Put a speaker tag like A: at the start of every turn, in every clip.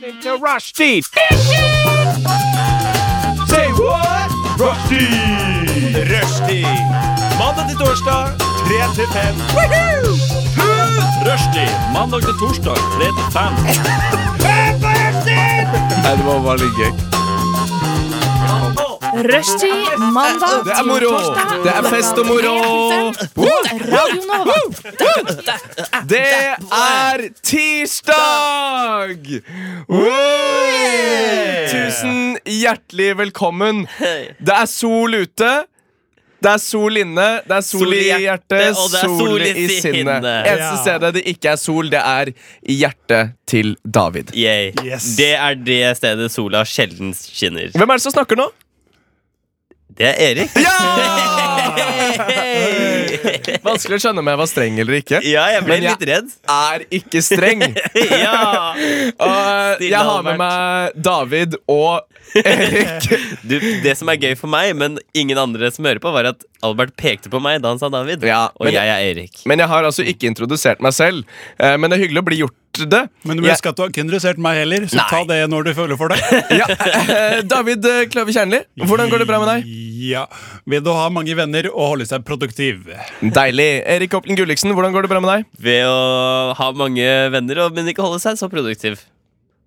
A: listening to Rushdie. Say what? Rushdie. Rushdie. Mandag til torsdag, 3 til 5. Rushdie. Mandag til torsdag, 3 til 5.
B: Nei, det var veldig gøy.
C: Rushtid mandag
B: Det er
C: til
B: moro!
C: torsdag.
B: Det er fest og moro!
C: Radio Nova.
B: Det er tirsdag! Oi! Tusen hjertelig velkommen. Det er sol ute. Det er sol inne, det er sol,
D: Sol i
B: i hjertet,
D: hjertet, og det er
B: sol,
D: sol i
B: i sinnet.
D: sinnet.
B: Eneste
E: Ja.
B: stedet det ikke er sol, det er i hjertet til David.
D: Yay.
E: Yes.
D: Det er det stedet sola sjelden skinner.
B: Hvem er det som snakker nå?
D: Det er Erik.
B: Vanskelig å skjønne om jeg var streng eller ikke.
D: Ja, jeg ble
B: Men jeg-
D: litt redd.
B: Er ikke streng.
D: Ja.
B: Og
D: Stille
B: jeg har med
D: Albert.
B: meg David og Erik.
D: Du, det som er gøy for meg, men ingen andre som hører på, var at Albert pekte på meg da han sa David.
B: Ja,
D: og
B: men-
D: jeg er Erik.
B: Men jeg har altså ikke introdusert meg selv. Eh, Men det er hyggelig å bli gjort det.
E: Men du husk at du har ikke interessert meg heller, så
D: Nei.
E: ta det når du føler for det.
B: Ja, eh, David eh, Kløve Kjernli, hvordan går det bra med deg?
E: Ja. Vil du ha mange venner og holde seg produktiv?
B: Deilig. Erik Hoplen Gulliksen, hvordan går det bra med deg?
D: Ved å ha mange venner, og- men ikke holde seg så produktiv.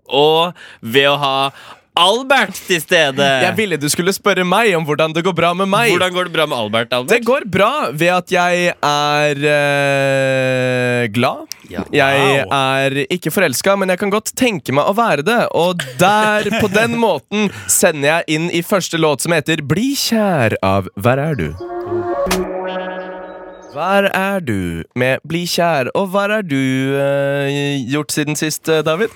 D: Og ved å ha Albert til
B: Jeg
D: stede.
B: ville du skulle spørre meg om hvordan det går bra med meg.
D: Eh. Hvordan går det bra med Albert?
B: Det
D: Albert?
B: går bra ved at jeg er eh, glad.
D: Ja.
B: Jeg
E: Wow.
B: er ikke forelska, men jeg kan godt tenke meg å være det. Og der, på den måten, sender jeg inn i første låt som heter Bli kjær av Hver er du? Hver er du med Bli kjær? Og hva har du eh, gjort siden sist, eh, David?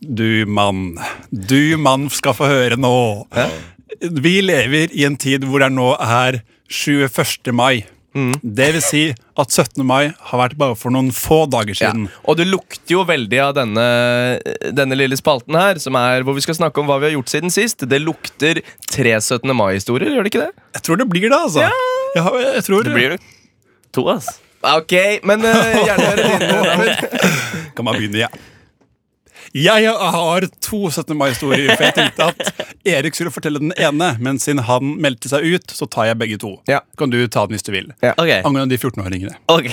E: Du mann, du mann skal få høre nå. Vi lever i en tid hvor det nå er 21. mai.
B: Mm.
E: Det vil si at 17. mai har vært bare for noen få dager siden.
B: Og det lukter jo veldig av denne, denne lille spalten her, som er hvor vi skal snakke om hva vi har gjort siden sist. Det lukter tre 17. mai-historier, gjør det ikke det?
E: Jeg tror det blir det, altså. Jeg, har- jeg tror,
B: det.
D: To, ass.
B: Ok, men eh, gjerne høre din.
E: Kan man begynne, ja. Jeg har to 17. mai-historier, for jeg tenkte at Erik skulle fortelle den ene, men siden han meldte seg ut, så tar jeg begge to.
B: Ja.
E: Kan du ta den hvis du vil.
B: Ja.
D: Ok,
E: Angående de 14-åringene.
D: ok.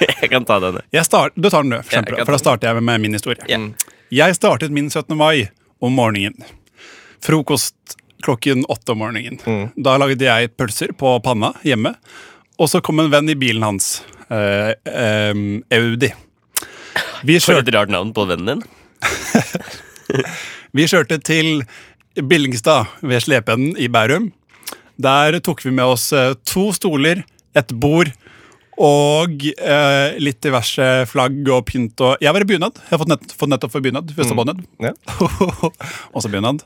D: Jeg kan ta denne.
E: Jeg start, du tar den, du, for,
D: Ja, jeg
E: eksempel,
D: kan ta
E: for da starter jeg med min historie.
D: Ja.
B: Mm.
E: Jeg startet min 17. mai om morgenen. Frokost klokken åtte om morgenen. Da lagde jeg pølser på panna hjemme, og så kom en venn i bilen hans, eh, eh, Audi. Vi
D: For
E: kjørte
D: et rart navn på vennen din.
E: Vi kjørte til Billingstad ved Slepen i Bærum. Der tok vi med oss eh, to stoler, et bord og eh, litt diverse flagg og pynt. Og jeg var i bunad. Jeg har fått, nett, fått nettopp for bunad. Første bunad.
B: Ja.
E: Også bunad.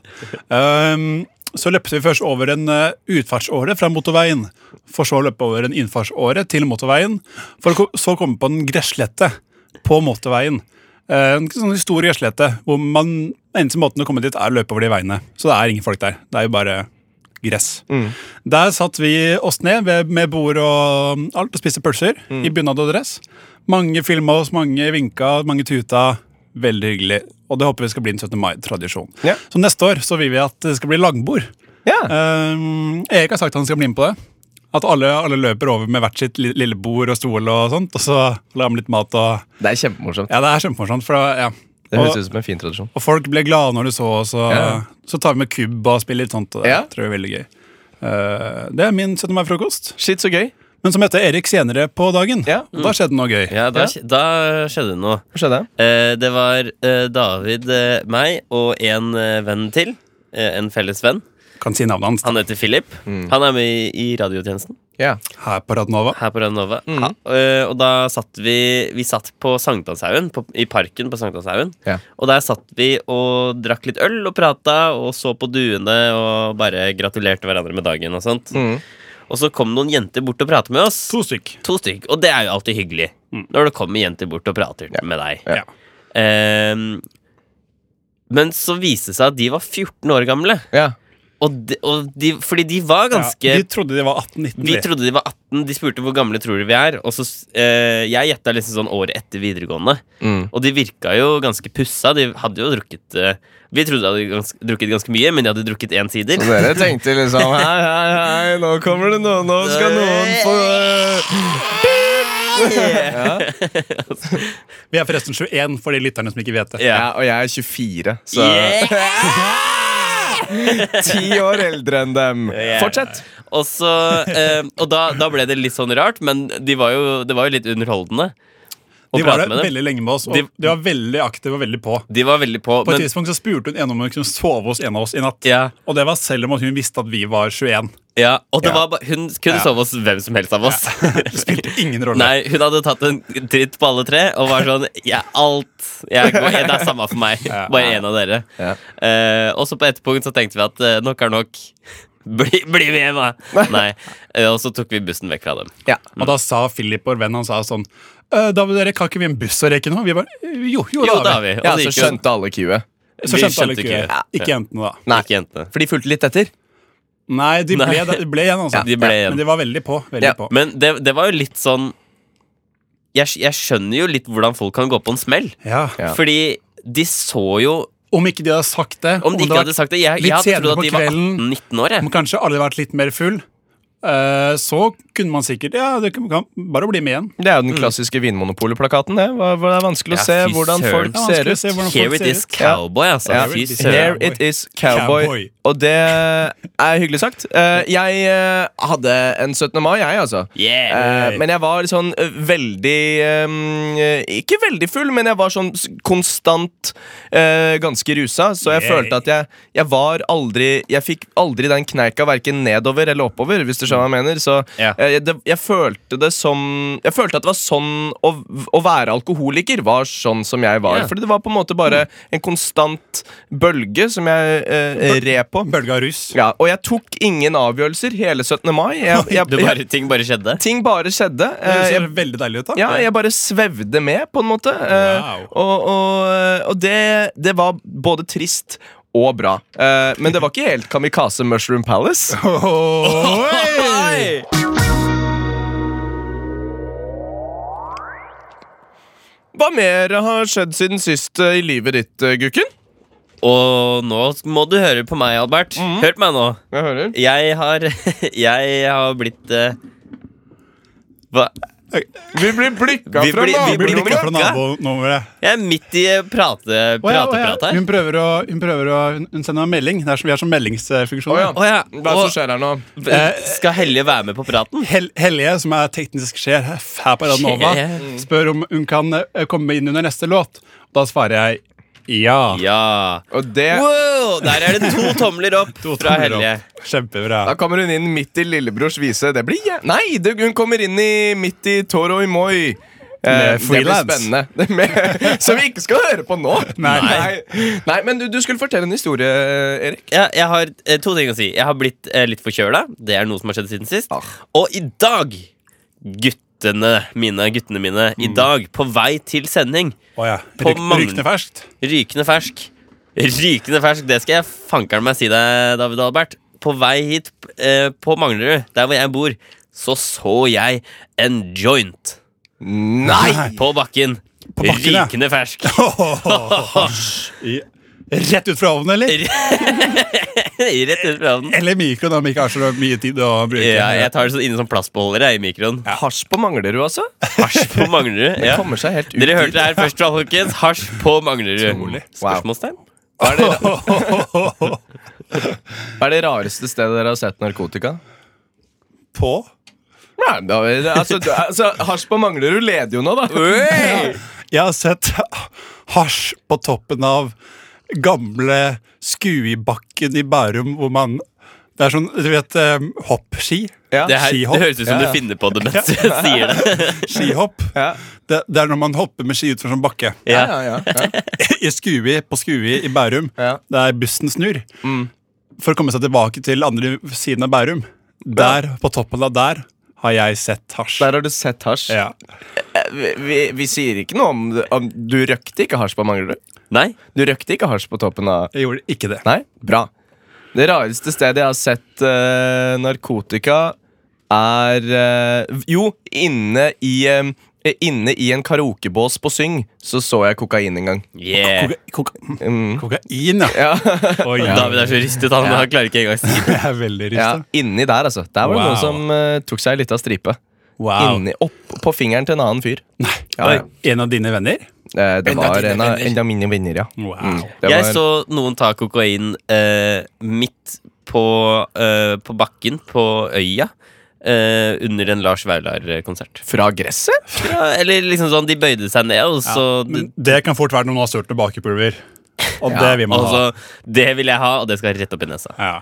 E: Um, så løpte vi først over en eh, utfartsåre fra motorveien. For så å løpe over en innfartsåre til motorveien. For å ko- så komme på en gresslette på motorveien. Eh, En sånn stor gresslette hvor man, eneste måten å komme dit er å løpe over de veiene. Så det er ingen folk der. Det er jo bare gress. Der satt vi oss ned ved, med bord og alt og spiste pølser i bunad og dress. Mange filma oss, mange vinka, mange tuta. Veldig hyggelig. Og det håper vi skal bli en 17. mai-tradisjon.
B: Ja.
E: Så neste år så vil vi at det skal bli langbord.
B: Ja.
E: Um, Erik har sagt han skal bli med på det. At alle, alle løper over med hvert sitt li- lille bord og stol og sånt. Og så lager vi litt mat og
B: Det er kjempemorsomt.
E: ja, det er kjempemorsomt. For, da- ja.
B: Det
E: og,
B: høres ut som en fin tradisjon.
E: og folk ble glade når de så oss. Og,
B: Ja.
E: Så tar vi med kubb og spiller litt sånt. Og det
B: Ja.
E: tror jeg er veldig gøy. Eh, det er min 17. mai-frokost.
B: Shit, så gøy.
E: Men så møtte jeg Erik senere på dagen.
B: Ja.
E: Og Da skjedde noe gøy.
D: Ja, da,
B: Ja.
D: skj- da skjedde det noe.
B: Hva skjedde?
D: Eh, det var eh, David, eh, meg og en eh, venn til. Eh, en felles venn.
E: Kan si navnet hans
D: Han heter Philip. Han er med i, i radiotjenesten
B: Ja.
E: her på Radnova.
D: her på Radionova. Ha- eh, og da satt vi Vi satt på Sankthanshaugen, på- i parken på Sankthanshaugen.
B: Ja.
D: Og der satt vi og drakk litt øl og prata og så på duene og bare gratulerte hverandre med dagen og sånt.
B: Mm.
D: Og så kom noen jenter bort og pratet med oss.
E: To stykk.
D: To stykk, og det er jo alltid hyggelig Når det kommer jenter bort og prater med deg
E: Mm. Ja.
D: Ehm, Men så viste det seg at de var 14 år gamle
B: Ja.
D: og de, og de, Fordi de var ganske
E: Ja, de trodde de var 18-19.
D: Vi
E: de.
D: trodde de var 18 enten De spurte hvor gamle tror du vi er, og så eh, Jeg gjetta liksom sånn året etter videregående.
B: Mm.
D: Og de virka jo ganske pussa. De hadde jo drukket eh, Vi trodde de hadde gans drukket ganske mye, men de hadde drukket én sider.
B: Og dere tenkte liksom Hei, hei, hei, nå kommer det noen, nå skal noen få eh.
E: Vi er forresten 21 for de lytterne som ikke vet det.
B: ja,
D: Ja.
B: Og jeg er 24, så
D: Yeah.
B: ti år eldre enn dem. Fortsett.
D: Og, så, eh, og da, da ble det litt sånn rart, men de var jo, det var jo litt underholdende. å
E: De var
D: prate
E: der
D: med dem.
E: veldig lenge med oss, og de,
D: De-
E: var veldig aktive og veldig på.
D: De var veldig på.
E: På et
D: men-
E: tidspunkt så spurte hun en om hun kunne sove hos en av oss i natt.
D: Ja.
E: Og det var selv om at hun visste at vi var 21.
D: Ja, og det
E: Ja.
D: var ba- hun kunne
E: Ja.
D: sove hos hvem som helst av oss.
E: Det spilte ingen rolle.
D: Nei, hun hadde tatt en tritt på alle tre og var sånn Ja, alt jeg går, Det er samme for meg.
E: Ja.
D: Bare én av dere.
B: Ja.
D: Eh, og så på et punkt så tenkte vi at eh, nok er nok. Bli, bli med hjem, da! Nei. Eh, og så tok vi bussen vekk fra dem.
B: Ja.
E: Og da sa Philip, vår venn, han sa sånn «Eh, David, dere, kan ikke vi en buss og reke nå? Vi bare, jo, jo, det
D: Jo, da
E: har
D: har
E: vi.
D: vi. Og
B: ja,
D: så
B: så
D: gikk jo
B: skjønte alle queuet.
E: Så
D: Vi
E: skjønte alle
D: skjønte
E: ikke,
D: ikke. Ja.
E: ikke jentene, da.
B: Nei.
D: ikke jentene.
B: For de fulgte litt etter.
E: Nei, de ble,
D: Nei.
E: de ble igjen, altså.
D: Ja, de ble igjen.
E: Men de var veldig på. Veldig
B: Ja,
E: på.
D: Men det, det var jo litt sånn jeg, sk- jeg skjønner jo litt hvordan folk kan gå på en smell.
E: Ja.
B: Ja.
D: Fordi de så jo
E: Om ikke de hadde sagt det,
D: Om de ikke
E: det
D: hadde sagt det Jeg,
E: litt
D: jeg hadde
E: senere
D: trodd at
E: på
D: de var
E: kvelden.
D: 18-19 år. Jeg.
E: om kanskje alle hadde vært litt mer full, eh, så kunne man sikkert Ja, det kan, kan bare bli med igjen.
B: Det er jo den klassiske Vinmonopolet-plakaten. Det. Hva- hva- det er vanskelig å
D: Ja,
B: se
D: fy
B: hvordan
D: søren.
B: folk
E: Det er
B: ser
E: vanskelig å
B: ut.
E: se hvordan
D: Here
E: folk
D: it
E: ser
D: is
E: ut.
D: cowboy, altså.
B: Ja.
D: Fy
B: Here
D: søren.
B: it is cowboy.
E: Cowboy.
B: Og det er hyggelig sagt. Eh, Jeg eh, hadde en 17. mai, jeg, altså.
D: Yeah.
B: Eh, Men jeg var sånn eh, veldig eh, Ikke veldig full, men jeg var sånn s- konstant eh, ganske rusa. Så jeg
E: Yay.
B: følte at jeg, jeg var aldri Jeg fikk aldri den kneika verken nedover eller oppover, hvis du skjønner hva jeg mener. Så
D: Ja.
B: eh, det, jeg følte det som Jeg følte at det var sånn å, å være alkoholiker var sånn som jeg var.
D: Ja.
B: Fordi det var på en måte bare en konstant bølge som jeg eh, red på.
E: Bølge av rus.
B: Ja, og jeg tok ingen avgjørelser hele 17. mai. Jeg, jeg,
D: Det
E: eh,
D: bare, ting bare skjedde.
B: ting bare skjedde.
E: Det
B: Eh,
E: ser
B: jeg,
E: veldig deilig ut, da.
B: ja, jeg bare svevde med, på en måte. Eh,
E: Wow.
B: Og, og, og det, det var både trist og bra. Eh, Men det var ikke helt Kamikaze Mushroom Palace.
E: Oi!
B: Hva mer har skjedd siden sist eh, i livet ditt, eh, Gukken?
D: Og nå må du høre på meg, Albert.
E: Mhm.
D: Hør på meg nå.
B: Jeg hører.
D: Jeg har, jeg har blitt eh, hva?
B: Vi blir blikka
D: Vi
B: fra
D: blir- vi
E: Blir
D: blir
E: blikket
B: naboen.
E: fra
D: blikka?
E: nabonummeret.
D: Jeg er midt i prate-prate-prate
E: Å ja, å ja.
D: her.
E: Hun prøver å, hun prøver å hun sender meg en melding. Det er som, vi har som meldingsfunksjon.
B: Å ja.
D: Å ja.
B: Hva er det som skjer her nå?
D: Og skal Hellige være med på praten?
E: Hel Hellige, som er teknisk sjef her på Radnova,
D: Sjef.
E: spør om hun kan eh, komme inn under neste låt. Da svarer jeg ja.
D: Ja.
B: Og det,
D: Wow, der er det to tomler opp fra
E: tomler
D: Hellige.
E: opp. Kjempebra.
B: da kommer hun inn midt i lillebrors vise. Det blir jæ- Nei, det, hun kommer inn i midt i Toro Moi.
E: Med
B: Eh, det blir
E: freelance.
B: spennende. Det med, som vi ikke skal høre på nå.
E: Nei.
B: Nei. Nei, Men du, du skulle fortelle en historie, Erik.
D: Ja, jeg har eh, to ting å si. Jeg har blitt eh, litt forkjøla. Det er noe som har skjedd siden sist.
E: Ah.
D: Og i dag, guttene mine, guttene mine, i
E: Mm.
D: dag, på vei til sending,
E: Å ja.
D: På
E: Ryk,
D: mang-
E: rykende ferskt.
D: rykende fersk Rykende fersk, det skal jeg fankeren meg si deg, David Albert. På vei hit eh, på Manglerud, der hvor jeg bor, så så jeg en joint
B: Nei!
D: på bakken.
E: På bakken, ja.
D: rykende fersk.
E: I- Rett ut fra ovnen, eller?
D: Rett ut fra den.
E: Eller mikroen, om ikke har så mye tid å bruke.
D: Ja, jeg tar det sånn inni sånn plastbeholder jeg, i mikroen.
B: Hasj på Manglerud, altså?
D: Hasj på Manglerud.
B: Det
D: ja.
B: kommer seg helt ut.
D: Dere
B: dit.
D: hørte det her først, fra folkens. Hasj på Manglerud. Spørsmålstegn?
B: Hva er det rareste stedet dere har sett narkotika?
E: På?
B: Nei, men da, altså, du- altså, Hasj på Manglerud leder jo nå, da.
E: Jeg har sett hasj på toppen av gamle Skuibakken i Bærum, hvor man Det er sånn, du vet, eh, hoppski?
B: Ja.
D: Det, her,
E: Skihopp.
D: det høres ut som
B: Ja, ja.
D: du finner på det mens du sier det.
E: Skihopp.
B: Ja.
E: Det, det er når man hopper med ski utfor sånn bakke.
B: Ja,
D: Ja.
B: ja, ja.
E: I Skui, på Skui i Bærum,
B: Ja.
E: der bussen snur. For å komme seg tilbake til andre siden av Bærum. Der, på toppen av der, har jeg sett hasj.
B: Der har du sett hasj.
E: Ja.
B: Vi, vi, vi sier ikke noe om, om Du røkte ikke hasj på Manglerud?
D: Nei?
B: Du røkte ikke hasj på toppen av
E: Jeg gjorde ikke det.
B: Nei? Bra. Det rareste stedet jeg har sett eh, narkotika, er eh, Jo, inne i eh, Inne i en karaokebås på Syng så så jeg kokain en gang.
D: Yeah.
E: Koka, koka, kokain, ja. Oi,
D: David er så ristet, han, han klarer ikke engang å si det.
E: Jeg er veldig
B: Ja,
E: rista.
B: inni der, altså. Der var det
E: Wow.
B: noen som eh, tok seg ei lita stripe.
E: Wow.
B: Inni, opp på fingeren til en annen fyr. Nei. Ja,
E: Oi,
B: ja.
E: En av dine venner?
B: Eh, det
A: En av
B: var
A: dine
B: en av,
A: venner.
B: en av mine venner, ja.
E: Wow.
B: Det
D: Jeg
B: var-
D: så noen ta kokain eh, midt på, eh, på bakken på øya eh, under en Lars Vaular-konsert.
B: Fra gresset?
D: Ja, eller liksom sånn, de bøyde seg ned, og så
E: Men det kan fort være når man har størt bakepulver. Og det vil man ha.
D: Altså, det vil jeg ha, og det skal rett opp i nesa.
E: Ja.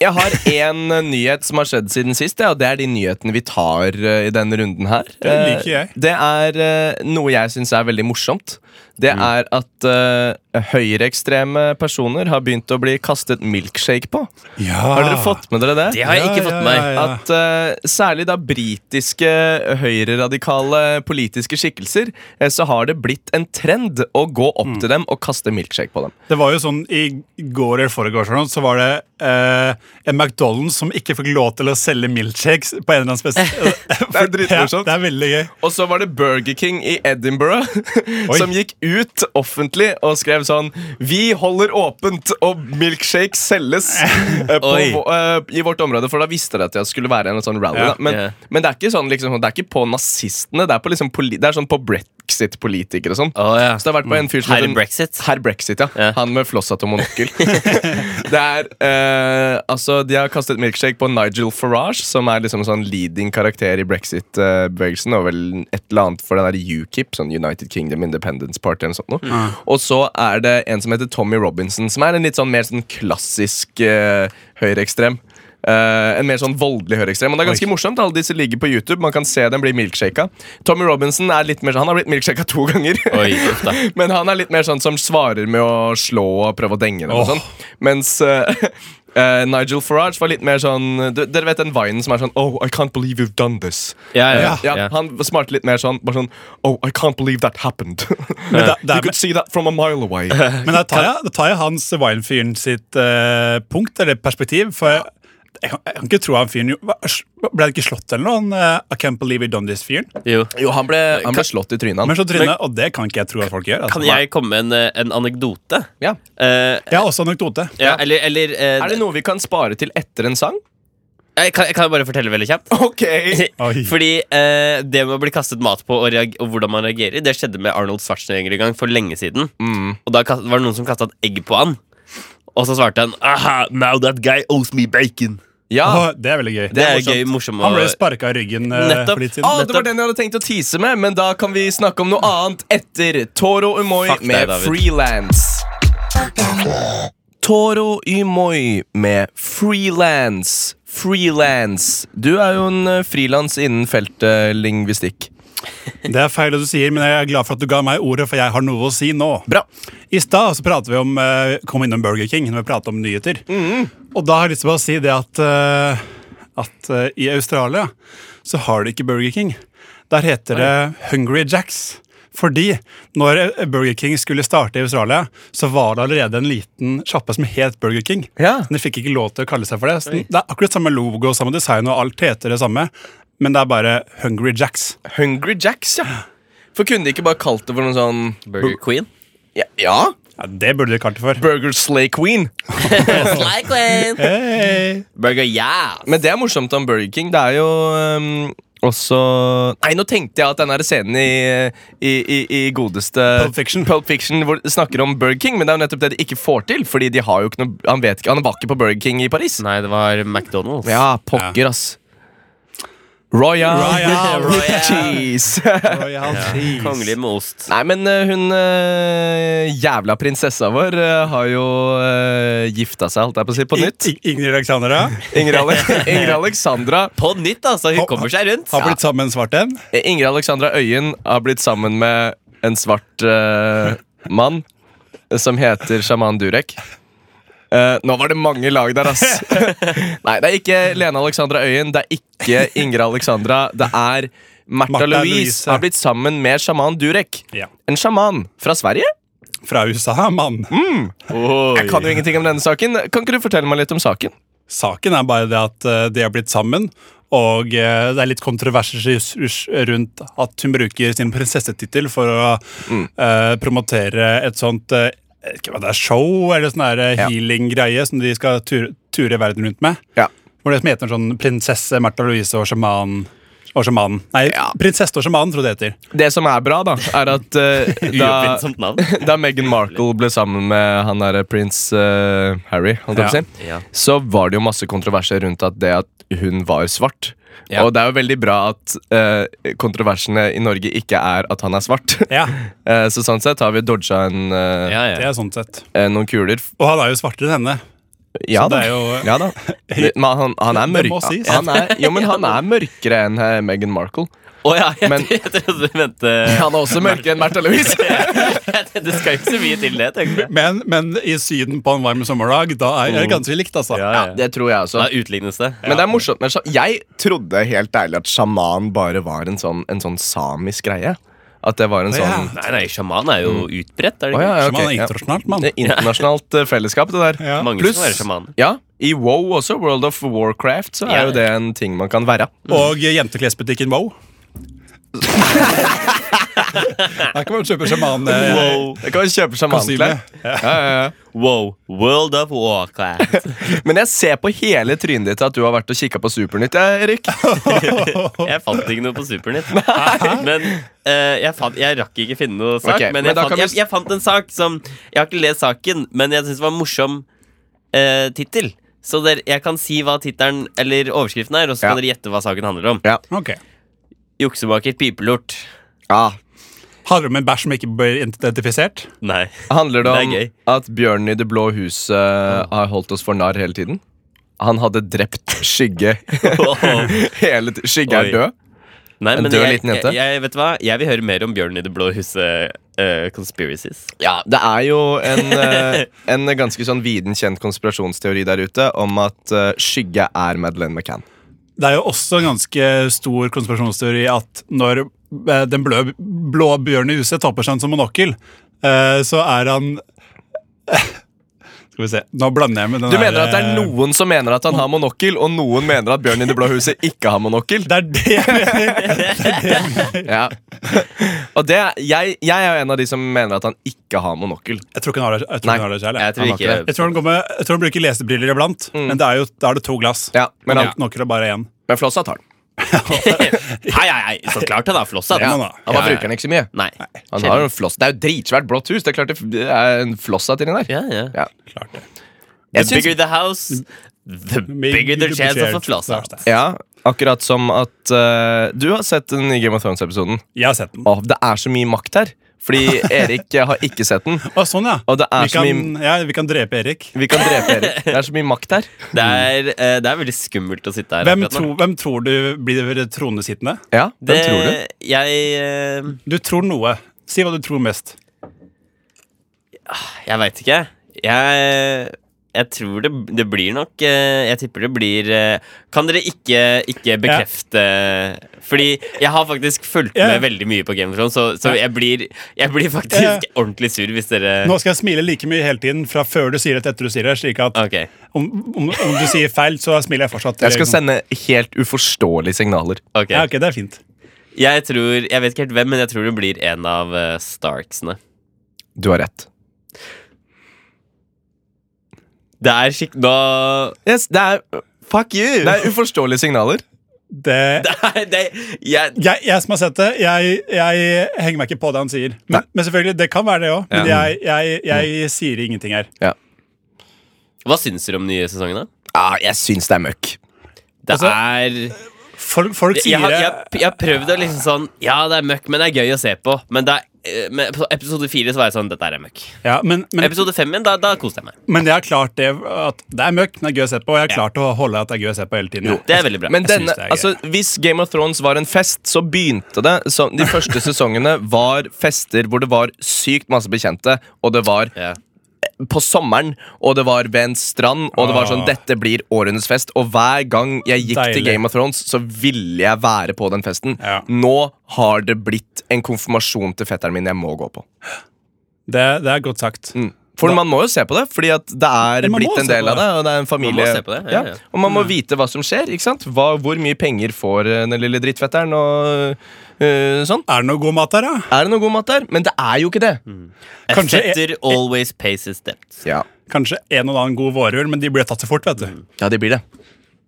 B: Jeg har én nyhet som har skjedd siden sist, ja, og det er de nyhetene vi tar eh, i denne runden her.
E: Den liker jeg.
B: Eh, Det er eh, noe jeg syns er veldig morsomt. Det
E: Mm.
B: er at eh, høyreekstreme personer har begynt å bli kastet milkshake på. Har dere fått med dere det?
D: Det har jeg
E: Ah. Ja,
D: ikke
E: ja,
D: fått med meg.
E: ja,
B: At eh, særlig da britiske eh, høyreradikale politiske skikkelser, eh, så har det blitt en trend å gå opp
E: Mm.
B: til dem og kaste milkshake på dem.
E: Det var jo sånn I går eller foregårs eller noe, så var det eh, en McDonald's som ikke fikk lov til å selge milkshakes på en eller annen spesiell
B: Det er dritmorsomt.
E: Ja, det er veldig gøy.
B: Og så var det Burger King i Edinburgh
E: Oi.
B: som gikk ut offentlig og skrev sånn Vi holder åpent, og milkshake selges eh, på,
D: Oi.
B: vå- eh, i vårt område. For da visste de at det skulle være en sånn rally.
E: Ja.
B: da. Men,
D: Ja.
B: men det er ikke sånn liksom, Det er ikke på nazistene. Det er, på liksom, poli det er sånn på brexit-politikere og sånn.
D: Å, ja.
B: Så det har vært på en fyr som
D: Herre
B: heter-
D: Brexit.
B: Herr Brexit, ja.
D: Ja.
B: Han med flosshatt og monokkel. det er, eh, altså, de har kastet milkshake på Nigel Farage, som er liksom en sånn leading karakter i brexit-bevegelsen, og vel et eller annet for den der UKIP, sånn United Kingdom Independence Party eller noe sånt. noe.
D: Mm.
B: Og så er det en som heter Tommy Robinson, som er en litt sånn mer sånn klassisk eh, høyreekstrem. Eh, en mer sånn voldelig høyreekstrem. Og det er ganske morsomt. Alle disse ligger på YouTube. Man kan se dem bli milkshaka. Tommy Robinson er litt mer sånn Han har blitt milkshaka to ganger.
D: Oi, uff da.
B: Men han er litt mer sånn som svarer med å slå og prøve å denge dem. og
E: Åh.
B: Sånn. Mens eh, eh, Nigel Farage var litt mer sånn du, Dere vet den vinen som er sånn Oh, I can't believe you've done this.
D: Ja, ja,
B: Ja,
D: ja. ja.
B: Han smarte litt mer sånn, bare sånn Oh, I can't believe that happened.
E: Men da- da-
B: you could see that from a mile away.
E: Men da tar jeg, da tar jeg hans Wine-fyren sitt eh, punkt eller perspektiv. For jeg, jeg, kan, jeg kan ikke tro han fyren jo- hva- Ble det ikke slått eller noe? Han, eh, I can't believe you done this-fyren.
D: Jo.
B: jo, han ble, han ble slått i trynet.
E: Men
B: Han.
E: så trynet, og det kan ikke jeg tro at folk gjør. Altså.
D: Kan jeg komme med en, eh, en anekdote?
B: Ja.
D: Eh,
E: Jeg har også anekdote.
D: ja, eller, eller eh,
B: Er det noe vi kan spare til etter en sang?
D: jeg, kan, jeg kan bare fortelle veldig kjapt.
B: Ok!
E: Oi.
D: Fordi eh, det med å bli kastet mat på og, reag og hvordan man reagerer, det skjedde med Arnold Schwarzenegger en gang for lenge siden. Og da kast- var det noen som kasta et egg på han. Og så svarte han Aha, now that guy owes me bacon.
B: Ja.
E: Åh, det er veldig gøy.
D: Det er,
B: morsomt.
D: gøy, morsom
E: Han ble
D: og-
E: sparka i ryggen eh,
D: Nettopp.
E: for litt
B: Ah,
E: siden.
B: det var den jeg hadde tenkt å tease med, men da kan vi snakke om noe annet etter Toro Umoi
D: Fuck deg,
B: med
D: David.
B: Freelance. Toro Umoi med Freelance. Freelance. Du er jo en eh, frilans innen feltet lingvistikk.
E: Det er feil det du sier, men jeg er glad for at du ga meg ordet, for jeg har noe å si nå.
B: Bra.
E: I stad så pratet vi om eh, Kom innom Burger King når vi pratet om nyheter.
B: Mm.
E: Og da har jeg lyst til å bare si det at, eh, at eh, i Australia så har de ikke Burger King. Der heter det Hungry Jacks. Fordi når eh, Burger King skulle starte i Australia, så var det allerede en liten sjappe som het Burger King.
B: Ja.
E: Men de fikk ikke lov til å kalle seg for det. Så det er akkurat samme logo, samme design og alt heter det samme, men det er bare Hungry Jacks.
B: Hungry Jacks, ja. For kunne de ikke bare kalt det for noe sånn
D: Burger Queen.
B: Ja, ja.
E: Ja, det burde de kalt det for.
B: Burger Slay Queen.
D: Slay Queen. Burger, ja.
B: Men det er morsomt om Burger King. Det er jo ehm, også Nei, nå tenkte jeg at den her scenen i, i, i, i godeste
E: Pulp Fiction.
B: Pulp Fiction hvor de snakker om Burger King, men det er jo nettopp det de ikke får til. Fordi de har jo ikke noe Han vet ikke, han var ikke på Burger King i Paris.
D: Nei, det var McDonald's.
B: Ja, pokker, ass. Royal,
E: Royal,
B: with
D: Royal.
B: cheese.
E: Royal cheese.
D: Kongelig med ost.
B: Nei, men eh, hun eh, jævla prinsessa vår eh, har jo eh, gifta seg, holdt jeg på å si, på nytt.
E: I- I- Ingrid Alexandra
B: Ingrid, Ale Ingrid Alexandra
D: På nytt, altså. Hun kommer seg rundt.
E: har blitt sammen med en svart en.
B: Eh, Ingrid Alexandra Øyen har blitt sammen med en svart eh, mann eh, som heter Shaman Durek. Eh, nå var det mange lag der, ass. Nei, det er ikke Lene Alexandra Øyen, det er ikke Ingrid Alexandra. Det er Märtha
E: Martha
B: Louise,
E: Louise.
B: har blitt sammen med sjaman Durek.
E: Ja.
B: En sjaman fra Sverige?
E: Fra USA, mann.
B: Jeg kan jo ingenting om denne saken. Kan ikke du fortelle meg litt om saken?
E: Saken er bare det at eh, de har blitt sammen, Og eh, det er litt kontroverser rus- rus- rundt at hun bruker sin prinsessetittel for å eh, promotere et sånt eh, jeg vet ikke hva det er, show eller sånn der, eh,
B: Ja.
E: healing-greie som de skal ture, ture verden rundt med.
B: Ja.
E: Hvor det som heter sånn prinsesse Märtha Louise og sjaman og sjamanen. Nei,
B: Ja.
E: prinsesse og sjamanen, tror jeg det heter.
B: Det som er bra, da, er at eh, da,
D: Uoppfinnsomt navn.
B: da Meghan Markle ble sammen med han derre prins eh, Harry, holdt jeg på å
E: Ja.
B: si,
D: Ja.
B: så var det jo masse kontroverser rundt at det at hun var svart.
D: Ja.
B: Og det er jo veldig bra at eh, kontroversene i Norge ikke er at han er svart.
E: Ja,
B: Eh, så sånn sett har vi dodga en, eh,
D: Ja,
E: det
D: ja.
E: er sånn sett.
B: eh, noen kuler.
E: Og han er jo svartere enn henne.
B: Ja
E: Så
B: da.
E: det er jo- eh,
B: ja, da. Det- Men han, han er
E: Det
B: mørk.
E: må sies.
B: Han er, jo, men han er mørkere enn eh, Meghan Markle.
D: Å ja, jeg,
B: Men-
D: jeg trodde du mente
B: Han er også mørkere enn Märtha Louise.
D: Det skal ikke så mye til det, tenkte jeg.
E: Men, men i Syden på en varm sommerdag, da er
B: Mm.
E: det ganske likt, altså.
D: Ja, ja.
B: Det tror jeg også.
D: Da utlignes det.
B: Men det er morsomt med sja- Jeg trodde helt ærlig at sjaman bare var en sånn, en sånn samisk greie. At det var en
E: Å, ja.
B: sånn
D: Nei, nei, sjaman er jo utbredt, er det
B: Mm. Å,
D: ikke?
B: ja, ja,
E: Som
B: ok,
E: han er
B: ja.
E: internasjonalt, mann.
B: Det er internasjonalt eh, fellesskap, det der.
E: Ja.
D: Mange
B: Pluss-
D: som er sjamaner.
B: Ja, I WoW også, World of Warcraft, så
D: Ja.
B: er jo det en ting man kan være.
E: Og jenteklesbutikken Wow. Der kan man kjøpe sjaman. eh,
D: Oh.
B: Det kan man kjøpe sjamanklær. Ja, ja, ja.
D: Wow, World of Warcraft.
B: Men jeg ser på hele trynet ditt at du har vært og kikka på Supernytt, ja, Erik.
D: Jeg fant ikke noe på Supernytt. Men eh, jeg, fant, jeg rakk ikke finne noe sak.
B: Ok,
D: men
B: men
D: jeg,
B: da
D: fant,
B: kan vi
D: jeg,
B: s-
D: jeg fant en sak som Jeg har ikke lest saken, men jeg syns det var en morsom uh, tittel. Så der, jeg kan si hva tittelen eller overskriften er, og så
B: Ja.
D: kan dere gjette hva saken handler om.
B: Ja.
E: Ok.
D: Juksemaker pipelort.
B: Ja.
E: Handler det om en bæsj som ikke blir identifisert?
D: Nei.
B: Handler det
D: Det er
B: om
D: gøy.
B: at bjørnen i Det blå huset eh, har holdt oss for narr hele tiden? Han hadde drept Skygge. hele t skygge
D: Oi.
B: er død.
D: Nei,
B: En
D: men
B: død
D: jeg,
B: liten jente?
D: Jeg, jeg, vet du hva? jeg vil høre mer om Bjørnen i det blå huset. eh, conspiracies.
B: Ja, det er jo en, eh, en ganske sånn viden kjent konspirasjonsteori der ute om at eh, Skygge er Madeleine McCann.
E: Det er jo også en ganske stor konspirasjonsteori at når eh, den blå, blå bjørnen i huset tar på seg en som monokkel, eh, så er han Skal vi se. Nå blander jeg med den
B: Du
E: her,
B: mener at det er
E: eh,
B: noen som mener at han har monokkel, og noen mener at bjørnen i Det blå huset ikke har monokkel?
E: Det er det jeg mener.
B: Ja. Og det, er- jeg, jeg er jo en av de som mener at han ikke har monokkel.
E: Jeg tror ikke han har det jeg tror
B: Nei,
E: ikke han har det selv.
D: Jeg
E: Jeg.
D: tror
B: Han har
D: ikke
B: ikke
E: Jeg, tror han går med, jeg tror han bruker lesebriller iblant, men det er jo, da er det to glass.
B: Ja, men, han,
E: han knokker det bare én.
B: men Flossa tar den.
D: Hei, hei, hei, så klart han har floss, da.
E: Ja,
B: Han
E: da.
B: bare
D: Ja, ja.
B: bruker den ikke så mye.
D: Nei.
B: Han har jo en floss. Det er jo et dritsvært blått hus. Det er klart det f- det er en floss av inni der.
D: Ja, ja.
B: Ja.
E: Klart det.
D: The
B: Jeg syns-
D: bigger the house, the bigger the chance of a floss out.
B: ja, akkurat som at eh, Du har sett den nye Game of Thrones-episoden.
E: Jeg har sett den.
B: Åh, det er så mye makt her. Fordi Erik eh, har ikke sett den.
E: Å, sånn, ja.
B: Og det er
E: vi,
B: så
E: kan,
B: mye-
E: ja, vi kan drepe Erik.
B: Vi kan drepe Erik. Det er så mye makt her.
D: Det er, eh, det er veldig skummelt å sitte her.
E: Hvem,
D: akkurat
E: tro,
D: nå.
E: hvem tror du blir tronesittende?
B: Ja, hvem
D: det,
B: tror du?
D: Jeg, eh,
E: Du tror noe. Si hva du tror mest.
D: jeg veit ikke. Jeg, jeg tror det, det blir nok eh, Jeg tipper det blir eh, Kan dere ikke, ikke bekrefte Fordi jeg har faktisk fulgt
E: Ja.
D: med veldig mye på Game of Thrones, så, så jeg, blir, jeg blir faktisk
E: Ja.
D: ordentlig sur hvis dere
E: Nå skal jeg smile like mye hele tiden fra før du sier det til etter du sier det. Slik at
D: Ok.
E: om, om, om du sier feil, så smiler jeg fortsatt.
B: Jeg skal sende helt uforståelige signaler.
D: ok.
E: Ja, ok, det er fint.
D: Jeg tror, jeg vet ikke helt hvem, men jeg tror det blir en av eh, Starksene.
B: Du har rett.
D: Det er skikk... Da
B: Yes, det er
D: Fuck you!
B: det er uforståelige signaler.
E: Det,
D: Nei, det, jeg,
E: jeg, jeg som har sett det, jeg, jeg henger meg ikke på det han sier. Men, men selvfølgelig, det kan være det òg. Men
B: Ja.
E: jeg, jeg,
D: Mm.
E: jeg sier ingenting her.
D: hva syns dere om den nye sesongen, da?
B: Ja, Ah, jeg syns det er møkk.
D: Det
E: Altså,
D: er
E: Folk, folk
D: jeg,
E: sier
D: har-
E: det.
D: jeg, jeg har prøvd å liksom sånn Ja, det er møkk, men det er gøy å se på. Men det er, eh, men på episode fire så var jeg sånn Dette er møkk.
E: Ja, men, men,
D: Episode fem igjen, da, da koste jeg meg.
E: men jeg har klart det at det er møkk, men det er gøy å se på. Og jeg har klart å holde at det er gøy å se på hele tiden.
D: Det er veldig bra.
B: Men
E: Jeg synes
B: denne,
E: det er gøy.
B: altså, hvis Game of Thrones var en fest, så begynte det som De første sesongene var fester hvor det var sykt masse bekjente, og det var
D: ja.
B: på sommeren, og det var ved en strand, og det var sånn
E: Ah.
B: Dette blir århundrets fest. Og hver gang jeg gikk
E: Deilig.
B: til Game of Thrones, så ville jeg være på den festen.
E: Ja.
B: Nå har det blitt en konfirmasjon til fetteren min jeg må gå på.
D: Mm.
E: Det, det er godt sagt.
B: For man må jo se på det, fordi at det er
E: Ja, man må
B: blitt en
E: se på
B: del av det.
E: det.
B: Og det er en familie
D: Man må se på det, ja, ja.
B: Og man må
E: Mm.
B: vite hva som skjer. ikke sant? Hva, hvor mye penger får eh, den lille drittfetteren? og eh, sånn.
E: Er det noe god mat der, da?
B: Er det noe god mat der? Men det er jo ikke det.
E: Mm.
D: A
E: Kanskje-
D: fetter always pays his debts.
B: Ja,
E: Kanskje en og annen god vårrull, men de blir tatt så fort, vet du.
B: ja det blir det.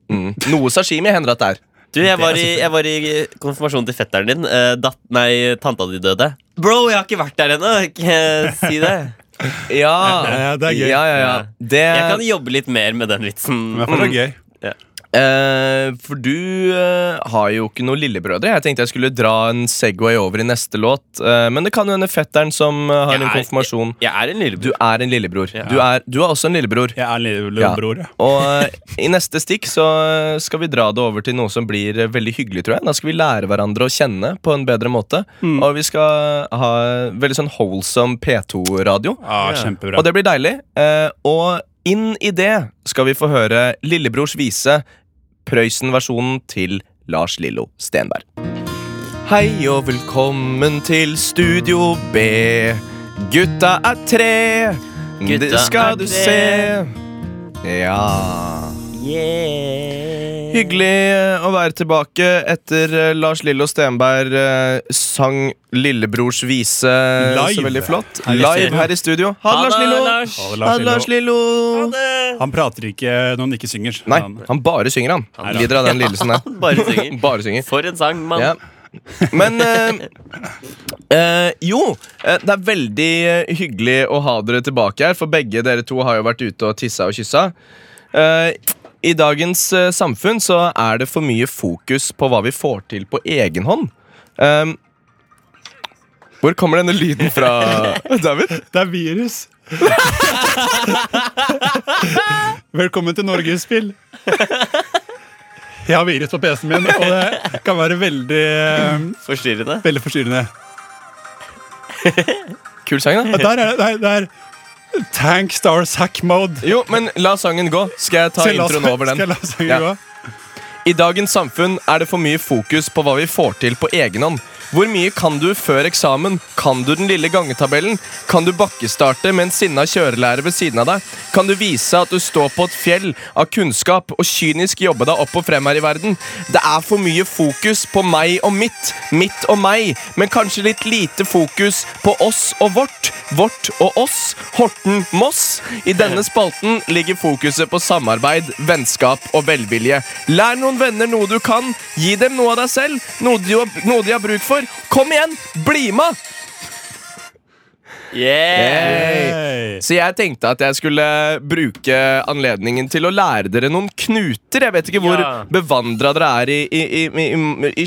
B: Mm. Noe sashimi hender at det er.
D: Du, jeg var, i, jeg var i konfirmasjonen til fetteren din. eh, datt, nei, tanta di døde. Bro, jeg har ikke vært der ennå! Ikke eh, si det.
B: Ja,
E: Ja, det er gøy.
B: Ja, ja, ja. Det,
D: Jeg kan jobbe litt mer med den vitsen.
E: Men det er gøy.
B: Eh, for du eh, har jo ikke noen lillebrødre. Jeg tenkte jeg skulle dra en Segway over i neste låt. eh, men det kan jo hende fetteren som eh, har en
D: Jeg er-
B: konfirmasjon.
D: Jeg er en
B: Du
D: lillebror.
B: er en lillebror. Du, er, du er også en lillebror.
E: Jeg er lille- lillebror, ja.
B: Og eh, i neste stikk så eh, skal vi dra det over til noe som blir eh, veldig hyggelig, tror jeg. Da skal vi lære hverandre å kjenne på en bedre måte.
D: Mm.
B: Og vi skal ha veldig sånn wholesome P2-radio.
E: Ah,
B: Og
E: kjempebra.
B: det blir deilig. Eh, og inn i det skal vi få høre Lillebrors vise, Prøysen-versjonen til Lars Lillo Stenberg. Hei og velkommen til Studio B. Gutta er tre,
D: Gutta
B: det skal
D: er
B: du
D: tre.
B: se. Ja
D: Yeah.
B: Hyggelig å være tilbake etter eh, Lars Lillo Stenberg eh, sang Lillebrors vise så
E: Live.
B: veldig flott.
E: Her i
B: Live
E: studio.
B: her i studio. Ha
D: Ha
B: det, Lars Lillo!
D: Lars.
E: Ha det,
B: Ha det, Lars Lillo!
E: Han prater ikke når han ikke synger.
B: Nei,
E: Han-
B: han bare synger, han.
E: da.
B: Lider av den lidelsen der.
D: Bare synger.
B: Bare synger.
D: For en sang,
B: Sånn,
D: mann.
B: Ja. Men eh, eh, jo, eh, det er veldig eh, hyggelig å ha dere tilbake her, for begge dere to har jo vært ute og tissa og kyssa. Eh, I dagens eh, samfunn så er det for mye fokus på hva vi får til på egen hånd. Ehm, hvor kommer denne lyden fra, David?
E: Det er virus. Velkommen til Norgesspill. Jeg har virus på PC-en min, og det kan være veldig, eh,
D: Forstyrrende.
E: veldig forstyrrende.
B: Kul sang, da.
E: Der er det der, der. Tank Stars hack mode.
B: Jo, men la sangen gå. Skal jeg ta
E: Skal jeg la-
B: introen over den?
E: Skal jeg la sangen
B: Ja.
E: gå?
B: I dagens samfunn er det for mye fokus på hva vi får til på egen hånd. Hvor mye kan du før eksamen? Kan du den lille gangetabellen? Kan du bakkestarte med en sinna kjørelærer ved siden av deg? Kan du vise at du står på et fjell av kunnskap og kynisk jobbe deg opp og frem her i verden? Det er for mye fokus på meg og mitt, mitt og meg, men kanskje litt lite fokus på oss og vårt, vårt og oss, Horten Moss. I denne spalten ligger fokuset på samarbeid, vennskap og velvilje. Lær noen venner noe du kan. Gi dem noe av deg selv, noe de, noe de har bruk for. Kom igjen, bli med!
D: Yeah.
E: Hey.
B: Så jeg tenkte at jeg skulle bruke anledningen til å lære dere noen knuter. Jeg vet ikke hvor
D: Ja.
B: bevandra dere er i, i, i, i, i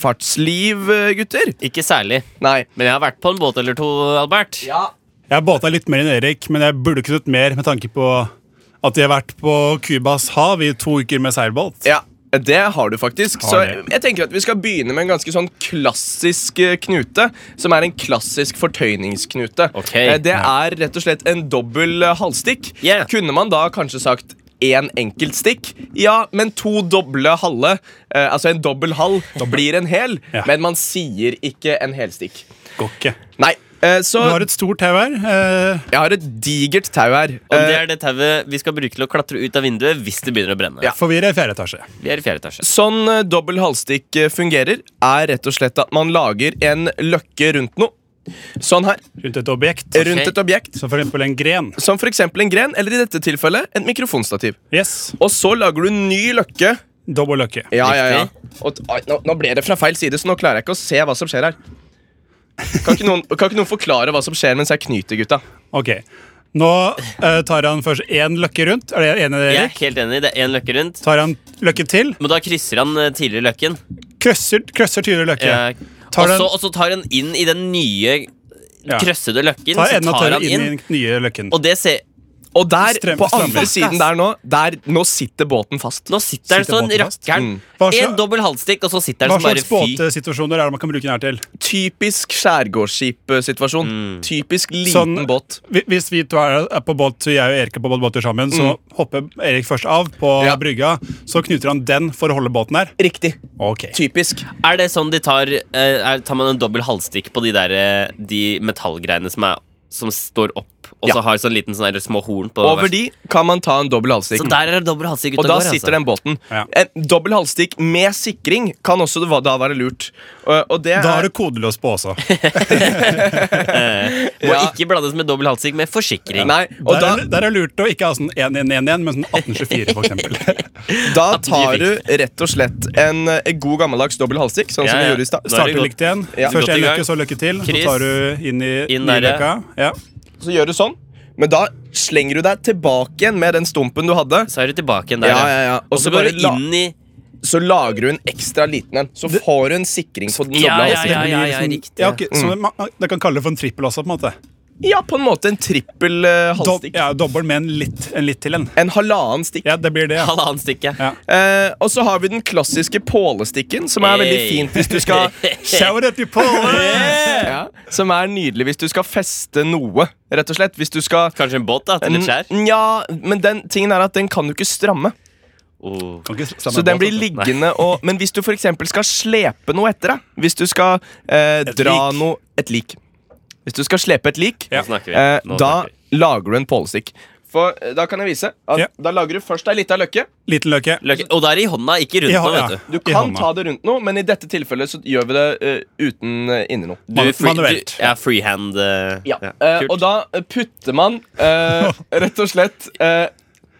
B: sjøfartsliv, gutter.
D: Ikke særlig.
B: Nei.
D: Men jeg har vært på en båt eller to, Albert.
E: Jeg båta litt mer enn Erik, men jeg burde kunnet mer med tanke på at de har vært på Cubas hav i to uker med seilbåt.
B: Ja, det har du faktisk.
E: Har
B: Så
E: det.
B: jeg tenker at vi skal begynne med en ganske sånn klassisk eh, knute. Som er en klassisk fortøyningsknute.
D: Ok.
B: Eh, Det er rett og slett en dobbel eh, halvstikk.
D: Yeah.
B: Kunne man da kanskje sagt én enkelt stikk? Ja, men to doble halve. Eh, altså en dobbel halv blir en hel,
E: Ja.
B: men man sier ikke en helstikk.
E: Går ikke.
B: Nei, eh, så
E: Du har et stort tau her. eh,
B: jeg har et digert tau her.
D: Og det
B: Eh,
D: er det tauet vi skal bruke til å klatre ut av vinduet hvis det begynner å brenne.
B: Ja.
E: For vi er i fjerde etasje.
D: Vi er i fjerde etasje.
B: Sånn eh, dobbel halvstikk eh, fungerer, er rett og slett at man lager en løkke rundt noe. Sånn her.
E: Rundt et objekt.
B: Rundt et objekt.
E: Som for eksempel en gren.
B: Som f.eks. en gren, eller i dette tilfellet et mikrofonstativ.
E: Yes.
B: Og så lager du en ny løkke.
E: Dobbel løkke.
B: Ja, ja, ja. Og, ai, nå, nå ble det fra feil side, så nå klarer jeg ikke å se hva som skjer her. Kan ikke noen, kan ikke noen forklare hva som skjer mens jeg knyter, gutta?
E: Ok. Nå eh, tar han først én løkke rundt. Er det enig,
D: Jeg er
E: Erik?
D: helt enig. Det er én løkke rundt.
E: Tar han løkke til.
D: Men da krysser han eh, tidligere løkken.
E: Krøsser, krøsser tidligere løkke.
D: Eh,
E: Tar
D: og
E: den-
D: så- og så tar han inn i den nye
E: Ja.
D: krøssede løkken.
E: Tar
D: Så
E: enda
D: tar
E: tørre
D: han
E: inn i
D: inn,
E: den nye løkken.
D: og det ser
B: Og der,
E: Strøm-
B: på
E: strømmer.
B: andre siden der nå, der, nå sitter båten fast.
D: Nå sitter den
E: Sitter
D: sånn,
E: båten fast?
D: rakkeren.
E: Hva slags-
D: En dobbel halvstikk, og så sitter
E: Hva
D: den som bare
E: slags
D: fy.
E: båtesituasjoner er det man kan bruke den her til?
B: Typisk skjærgårdsskip-situasjon. Typisk liten
E: Sånn-
B: båt.
E: Hvi- Hvis vi to er er på båt, så jeg og Erik er på båttur sammen, så
D: Mm.
E: hopper Erik først av på
B: Ja.
E: brygga. Så knuter han den for å holde båten her.
B: Riktig.
E: Ok.
B: Typisk.
D: Er det sånn de tar eh, er, Tar man en dobbel halvstikk på de der eh, De metallgreiene som er som står opp, og
B: Ja.
D: så har sånn liten sånn der små horn på
B: Over de kan man ta en dobbel
D: Så
B: halsstikk.
D: der er det dobbel halsstikk ute
B: Og da
D: går, altså.
B: sitter den båten.
E: Ja.
B: En dobbel halsstikk med sikring kan også det- da være lurt. Og og det er
E: Da er det kodeløs på også.
D: Må
B: Ja.
D: ikke blandes med dobbel halsstikk med forsikring.
B: Nei, og
E: Der,
B: da,
E: er det- der er det lurt å ikke ha sånn 1111, men sånn 1824, for eksempel.
B: da
D: de
B: tar
D: fikk-
B: du rett og slett en, eh, god gammeldags dobbel halsstikk, sånn
D: Ja,
B: som vi
D: ja.
B: gjorde i stad.
D: Da er det
E: Starter
D: godt.
E: likt igjen.
B: Ja.
E: Først
D: Godt i
E: én
D: gang.
E: løkke, så løkke til. Så
D: Chris.
E: tar du inn i
D: Inn
E: nye
D: der,
E: løkka. Ja.
B: Så gjør du sånn, men da slenger du deg tilbake igjen med den stumpen du hadde.
D: Så er du tilbake igjen der.
B: Ja, ja, ja.
D: Og så
B: Også bare
D: går du
B: la-
D: inn i
B: Så lager du en ekstra liten en. Så får du en sikring på den
D: Ja,
B: dobla
D: ja, ja,
B: halsen.
D: ja, ja riktig.
E: Ja, ok, så man, man- det kan kalle det for en trippel også, på en måte.
B: Ja, på en måte en trippel eh,
E: Dob,
B: halvstikk.
E: ja, Dobbel med en litt, en litt til en.
B: En halvannen stikk.
E: Ja, det blir det. Ja.
D: Halvannen stikke.
E: Ja.
B: Eh, og så har vi den klassiske pålestikken, som er veldig
D: Hey.
B: fint hvis du skal
E: Shout out to Paul!
B: ja, Som er nydelig hvis du skal feste noe, rett og slett. Hvis du skal
D: Kanskje en båt da, til et skjær.
B: Ja, men den tingen er at den kan du ikke stramme.
D: Oh.
E: Kan ikke slappe
B: Så
E: av,
B: den blir
E: altså.
B: liggende og Men hvis du for eksempel skal slepe noe etter deg Hvis du skal eh, dra
E: lik.
B: noe Et lik Hvis du skal slepe et lik
D: Nå snakker vi.
B: eh,
D: Nå
B: Da
D: snakker vi.
B: lager du en pålestikk For eh, da kan jeg vise at
E: Ja.
B: Da lager du først ei lita løkke
E: Liten løke.
D: Løkke. Og da er det i hånda, ikke rundt
E: I
D: nå,
E: hånda.
D: vet du.
B: Du
E: I
B: kan
E: hånda.
B: ta det rundt noe Men i dette tilfellet så gjør vi det eh, uten eh, inni noe
D: du
E: Manu-
D: free,
E: manuelt.
D: Du, ja, freehand. eh,
B: ja.
D: ja.
B: Eh,
D: Kult.
B: og da eh, putter man eh, rett og slett eh,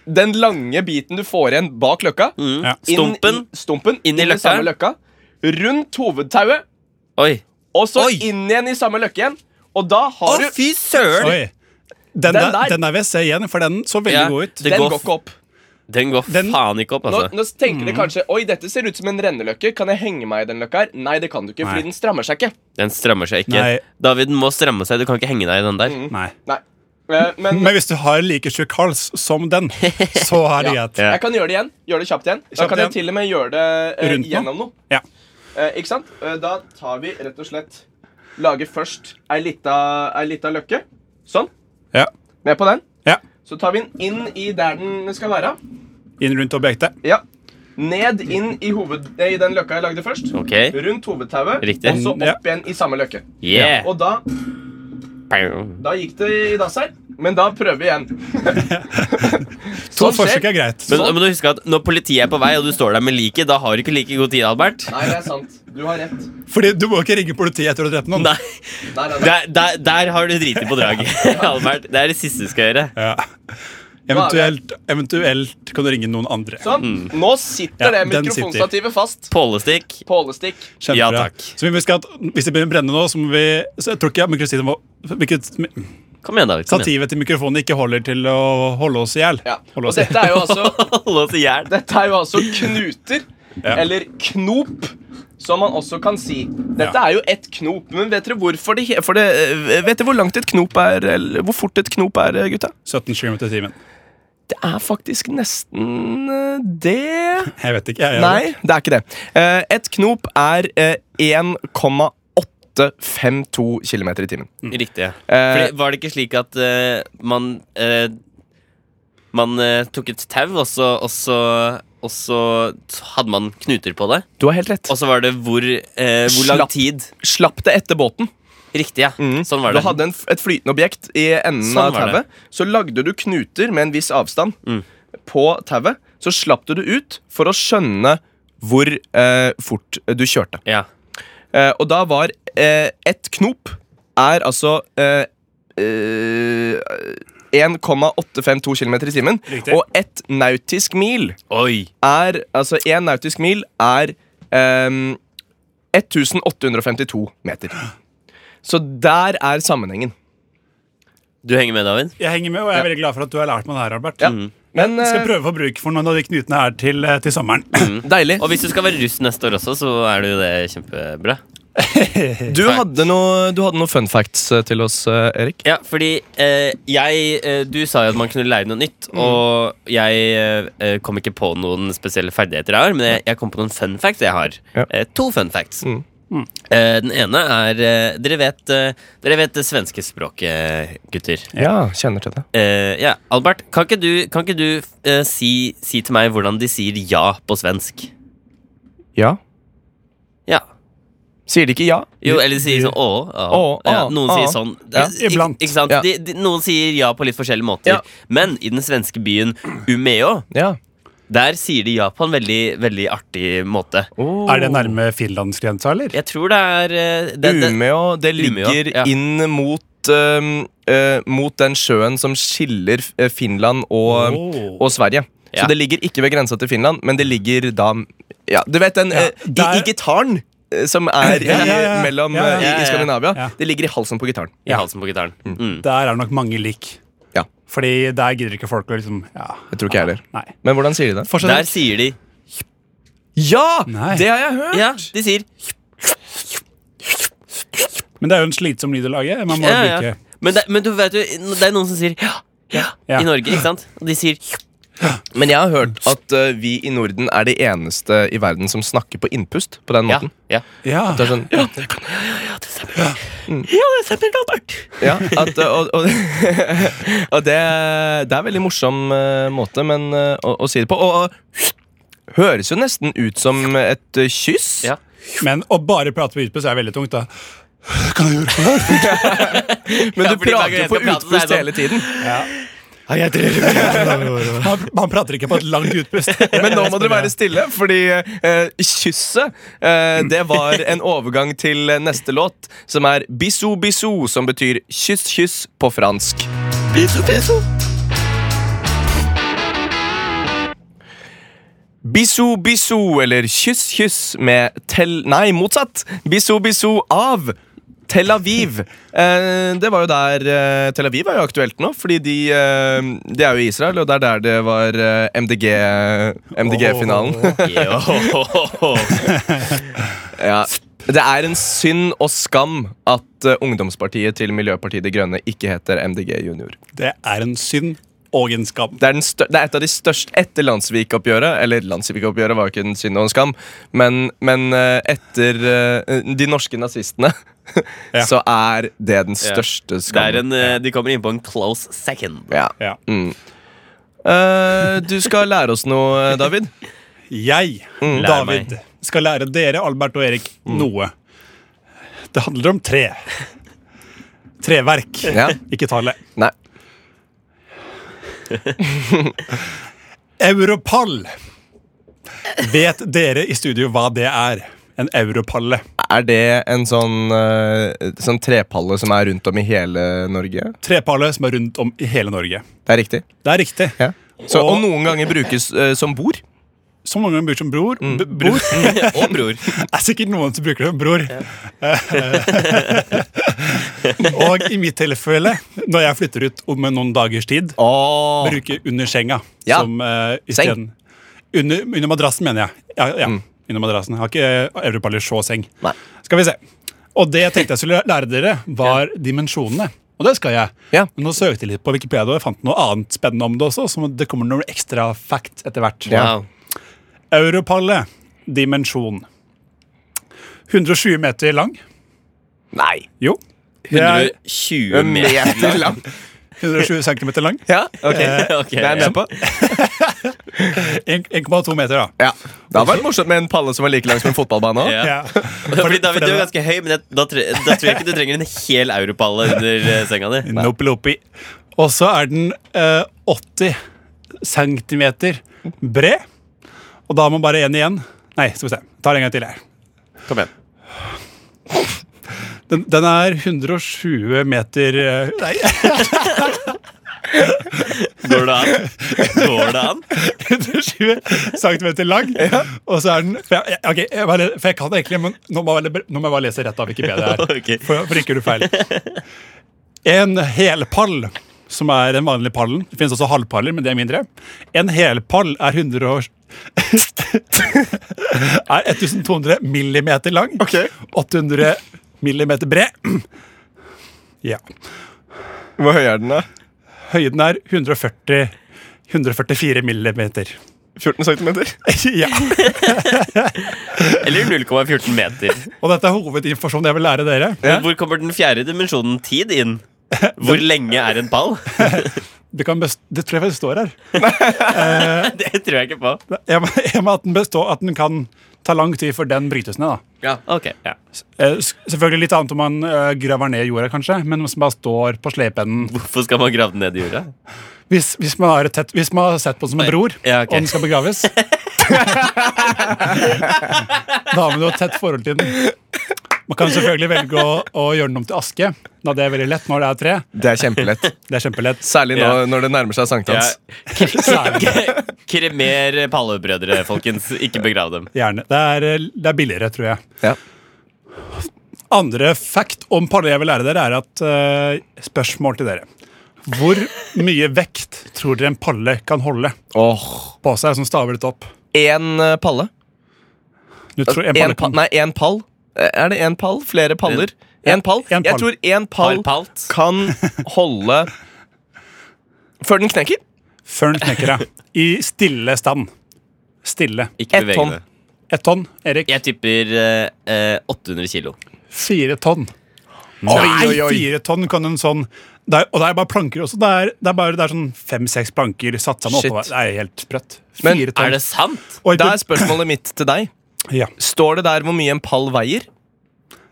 B: den lange biten du får igjen bak løkka,
E: Ja.
D: Mm. Stumpen.
B: inn, i- stumpen
D: Inn i løkka.
B: samme løkka, rundt hovedtauet,
D: Oi.
B: og så
D: Oi.
B: inn igjen i samme løkke igjen. Og da
D: Å,
B: har du
D: fy søren!
E: Oi. Den,
B: Den
E: der,
B: der.
E: den der vil jeg se igjen, for den så veldig
D: Ja.
E: god ut.
D: Det
B: Den
D: går
B: går
D: f-
B: ikke opp.
D: Den går
E: Den-
D: faen ikke
B: Nå,
D: opp, altså.
B: nå tenker dere kanskje Oi, dette ser ut som en renneløkke. Kan jeg henge meg i den løkka her? Nei, det kan du ikke,
E: Nei.
B: fordi den strammer seg ikke.
D: Den strammer seg ikke.
E: Nei.
D: David den må stramme seg. Du kan ikke henge deg i den der.
B: Mm.
E: Nei.
B: Nei. Eh, men
E: Men hvis du har like tjukk hals som den, så er det
B: Ja.
E: greit.
B: jeg kan gjøre det igjen. Gjøre det kjapt igjen. Da
E: Kjapt
B: kan
E: igjen.
B: jeg til og med gjøre det eh,
E: Rundt nå?
B: gjennom noe.
E: Ja.
B: Eh, ikke sant? Eh, da tar vi rett og slett Lager først ei lita, ei lita løkke. Sånn.
E: Ja.
B: Ned på den.
E: ja.
B: Så tar vi den inn i der den skal være.
E: Inn rundt objektet.
B: Ja. Ned inn i, hoved, eh, i den løkka jeg lagde først.
D: Ok.
B: Rundt hovedtauet,
D: Riktig.
B: og så
E: Ja.
B: opp igjen i samme løkke.
D: Yeah.
B: Og da, da gikk det i dass her, men da prøver vi igjen.
E: To
B: Sånn skjer.
E: forsøk er greit.
D: Men, men du husker at når politiet er på vei, og du står der med liket, da har du ikke like god tid, Albert.
B: Nei, det er sant. Du har rett.
E: Fordi du må ikke ringe politiet etter å ha drept noen.
D: Nei.
B: Nei, nei, nei.
D: Der, der, der har du driti på draget, Albert. Det er det siste du skal gjøre.
E: Ja. Eventuelt, eventuelt kan du ringe noen andre.
B: Sånn.
D: Mm.
B: Nå sitter
E: Ja,
B: det
E: den
B: mikrofonstativet fast.
D: Pålestikk.
B: Pålestikk.
E: Kjempebra.
D: Ja, takk.
E: Så vi husker at hvis det begynner å brenne nå, så må vi så Jeg tror ikke mikrosivet var- mikros-
D: Kom igjen, David. Kom igjen.
E: Stativet til mikrofonen ikke holder til å holde oss i hjel.
B: Ja.
E: Holde
B: Og
E: oss i-
B: dette er jo altså
D: Holde oss i hjel.
B: Dette er jo altså knuter,
E: Ja.
B: eller knop, som man også kan si. Dette
E: Ja.
B: er jo et knop, men vet dere hvorfor det, he- for det eh, Vet dere hvor langt et knop er, eller hvor fort et knop er, eh, gutta?
E: 17 km i timen.
B: Det er faktisk nesten eh, det
E: Jeg vet ikke. Jeg, jeg,
B: Nei, det er ikke det. Eh, Et knop er eh, 1,852 km i timen.
D: Riktig. ja.
B: Eh,
D: Fordi, var det ikke slik at eh, man eh, Man eh, tok et tau, og så, og, så, og så hadde man knuter på det?
B: du har helt rett.
D: Og så var det hvor, eh, hvor lang
B: Slapp.
D: tid.
B: Slapp det etter båten.
D: Riktig, ja. Sånn var
B: Du
D: det.
B: hadde en, f- et flytende objekt i enden
D: Sånn
B: av
D: var det. Mm.
B: tauet. Så lagde du knuter med en viss avstand på tauet. Så slapp du det ut for å skjønne hvor eh, fort du kjørte.
D: Ja.
B: Eh, og da var eh, ett knop er altså eh, eh, 1,852 km i timen.
E: Riktig.
B: Og ett nautisk mil
D: Oi.
B: er Altså én nautisk mil er ehm, 1852 meter. Så der er sammenhengen.
D: Du henger med, David?
E: jeg henger med, og jeg er veldig glad for at du har lært meg det her, Albert.
B: Ja. Men
E: Jeg skal
B: eh,
E: prøve å få bruk for noen av de knutene her til, eh, til sommeren.
B: deilig.
D: Og hvis du skal være russ neste år også, så er det jo det kjempebra.
B: Du hadde, noe, du hadde noen fun facts eh, til oss, eh, Erik.
D: Ja, fordi eh, jeg eh, Du sa jo at man kunne lære noe nytt,
B: Mm.
D: og jeg eh, kom ikke på noen spesielle ferdigheter jeg har, men jeg, jeg kom på noen fun facts jeg har.
B: Ja.
D: Eh, to fun facts.
B: Mm.
D: Eh, den ene er eh, Dere vet eh, Dere vet det svenske språket, gutter.
B: Ja, kjenner til det.
D: Eh, ja, Albert, kan ikke du, kan ikke du eh, si, si til meg hvordan de sier ja på svensk?
B: Ja.
D: Ja.
B: Sier de ikke ja?
D: Jo, eller de sier sånn å, å,
B: Å,
D: ja,
B: å,
D: Noen
B: å.
D: sier sånn
B: Ja,
D: Ik-
E: iblant.
D: Ikke sant?
B: Ja.
D: De, de, noen sier ja på litt forskjellige måter
B: Ja.
D: Men i den svenske byen Umeå
B: Ja.
D: Der sier de ja på en veldig, veldig artig måte
E: Er det nærme finlandsgrensa, eller?
D: Jeg tror det er eh, det, det,
B: Umeå, det
D: Umeå,
B: ligger
D: ja.
B: inn mot øhm, øh, mot den sjøen som skiller eh, Finland og, ehm,
E: Åh.
B: og Sverige. Så
D: Ja.
B: det ligger ikke ved grensa til Finland, men det ligger da ja, Du vet den eh,
E: der-
B: i, i gitaren eh, som er
E: Ja, ja, ja.
B: i- mellom
E: Ja,
B: eh,
E: ja,
D: ja,
B: I,
D: ja.
B: i Skandinavia.
E: Ja.
B: Det ligger i halsen på gitaren.
D: I halsen på gitaren mm.
E: Der er det nok mange lik.
B: Ja.
E: Fordi der gidder ikke folk å liksom ja.
B: Jeg tror ikke jeg heller.
E: Nei.
B: Men hvordan sier de det?
E: Fortsett.
D: Der sier de
B: Ja!
E: Nei.
B: Det har jeg hørt!
D: Ja, de sier
E: Men det er jo en slitsom lyd å lage. Man må
D: ja, ja.
E: bruke
D: Men, det, men du vet jo, det er noen som sier ja, ja,
E: Ja.
D: i Norge, ikke sant? Og de sier
B: Men jeg har hørt at eh, vi i Norden er de eneste i verden som snakker på innpust på den
D: ja,
B: måten.
D: ja.
E: Ja.
B: Det er sånn,
D: Ja, det stemmer Albert.
B: Ja, at, eh, og, og, og det, det er veldig morsom eh, måte men, eh, å, å si det på. Og, og høres jo nesten ut som et eh, kyss.
D: Ja.
E: Men å bare prate på utpust er veldig tungt, da. Kan jeg gjøre det?
B: Men
D: Ja,
B: du
D: fordi
B: prater
D: hver gang
B: jo
D: jeg
B: på
D: skal prate, så er sånn-
B: utpust
D: det
B: hele tiden.
E: Man, man prater ikke på et langt utpust.
B: Men nå må dere være stille, fordi eh, kysset eh, Det var en overgang til eh, neste låt, som er Bissou Bissou, som betyr kyss, kyss på fransk. Bissou Bissou, eller Kyss Kyss med Tel... Nei, motsatt! Bissou Bissou av Tel Aviv. Eh, det var jo der eh, Tel Aviv er jo aktuelt nå, fordi de, eh, de er jo i Israel, og det er der det var eh, MDG MDG-finalen. ja. Det er en synd og skam at eh, ungdomspartiet til Miljøpartiet De Grønne ikke heter MDG Junior.
E: Det er en synd og en skam.
B: Det er, den stør- det er et av de største etter Landsvik-oppgjøret. Eller Landsvik-oppgjøret var jo ikke en synd og en skam, men, men eh, etter eh, de norske nazistene
E: Ja.
B: så er det den største
D: Det er
B: skammen.
D: en, eh, de kommer inn på en close second.
B: Ja.
E: Ja.
B: Eh, du skal lære oss noe, eh, David.
E: Jeg,
B: Mm.
D: Lær
E: David, skal lære dere, Albert og Erik, noe. Det handler om tre. Treverk,
B: Ja.
E: ikke tallet.
B: Nei.
E: Europall. Vet dere i studio hva det er? En europalle.
B: Er det en sånn, eh, sånn trepalle som er rundt om i hele Norge?
E: Trepalle som er rundt om i hele Norge.
B: Det er riktig.
E: Det er riktig.
B: Ja. Så, og,
E: Og-
B: noen ganger brukes eh, som bord.
E: Så mange ganger bruker som bror.
B: Mm.
E: B bror.
D: Og bror.
E: Det er sikkert noen som bruker det som bror. Eh, og i mitt tilfelle, når jeg flytter ut om noen dagers tid,
B: Oh.
E: bruker under senga.
B: Ja.
E: Som, eh,
B: Seng.
E: i
B: Mm.
E: stedet- Under, under madrassen, mener jeg. Ja, ja under madrassen. Jeg har ikke eh, europaller så seng.
B: Nei.
E: Skal vi se. Og det jeg tenkte jeg skulle lære dere, var dimensjonene. Og det skal jeg.
B: Ja.
E: Men nå søkte jeg litt på Wikipedia, og jeg fant noe annet spennende om det også. Så det kommer noen ekstra facts etter hvert.
B: Ja.
E: Europalle. Dimensjon. 120 meter lang.
B: Nei.
E: Jo. Det er
D: 120 meter.
B: lang.
E: 120 cm lang.
B: Ja, ok.
D: Ok,
B: Det er jeg
D: ja.
B: med på.
E: 1,2 meter, da.
B: Ja. Det hadde vært morsomt med en palle som var like lang som en fotballbane. også.
D: Ja.
E: Fordi-
D: Fordi David, du
E: fordi
D: er
E: det-
D: ganske høy, men jeg, da, tre, da tror jeg ikke du trenger en hel europalle under eh, senga di.
E: Nope, lope. Og så er den eh, 80 cm bred. Og da har man bare én igjen. Nei, skal vi se. Tar en gang til her.
D: Kom igjen.
E: Den, den er 120 meter eh, Nei,
D: Går det an? Går det an?
E: 120 cm lang. Og så er den For jeg, jeg- ok, jeg, bare, for jeg kan det egentlig, men nå må jeg, bare- nå må jeg bare lese rett av Wikipedia her.
D: Ok.
E: For, for ikke gjør du feil. En helpall, som er den vanlige pallen Det finnes også halvpaller, men det er mindre. En helpall er 100 år Er 1200 millimeter lang. 800 millimeter bred. Ja.
B: Hvor høy er den, da?
E: Høyden er 140 144 millimeter.
B: 14 centimeter?
E: ja.
D: Eller 0,14 meter.
E: Og dette er hovedinformasjonen jeg vil lære dere.
D: Men hvor kommer den fjerde dimensjonen tid inn? Hvor lenge er en pall?
E: Du kan best det tror jeg faktisk står her.
D: Det tror jeg ikke på.
E: Jeg må, jeg må at, den består, at den kan tar lang tid før den brytes ned. da.
D: Ok, ja.
E: Eh, s- Selvfølgelig litt annet om man eh, graver ned jorda, kanskje, men hvis man bare står på slepeenden
D: Hvorfor skal man grave den ned i jorda?
E: hvis, hvis, man har et tett, hvis man har sett på den som en bror,
D: Ja, ok.
E: og den skal begraves Da har man jo et tett forhold til den. Man kan selvfølgelig velge å, å gjøre den om til aske. Da det er veldig lett når det er tre.
B: Det er kjempelett.
E: Det er kjempelett.
B: Særlig nå
D: Ja.
B: når det nærmer seg sankthans.
E: Særlig
D: Kremer Pallebrødre, folkens. Ikke begrav dem.
E: Gjerne. Det er, eh, det er billigere, tror jeg.
B: Ja.
E: Andre fact om paller jeg vil lære dere, er at eh, Spørsmål til dere. Hvor mye vekt tror dere en palle kan holde
B: Åh,
E: på seg? som staver litt opp?
B: Én eh, palle?
E: Du tror en
B: En
E: palle
B: pa
E: kan
B: nei, én pall. Eh, Er det én pall? Flere paller? Én pall?
E: en
B: Jeg
E: pall.
B: tror én pall
D: Par palt.
B: kan holde Før den knekker?
E: Før den knekker deg. I stille stand. Stille.
D: Ikke
B: Ett
D: beveg
B: tonn.
D: det.
E: Ett tonn, Erik.
D: Jeg tipper eh, eh, 800 kilo.
E: Fire tonn.
B: Oi, oi, oi.
E: fire tonn kan en sånn det er, Og det er bare planker også. Det er, det er bare det er sånn fem-seks planker satt sammen
B: Shit.
E: oppover. Det er helt sprøtt.
B: Men
E: Fire
D: Er
E: tonn.
D: det sant?
E: Oi,
B: Da er spørsmålet mitt til deg.
E: ja.
B: Står det der hvor mye en pall veier?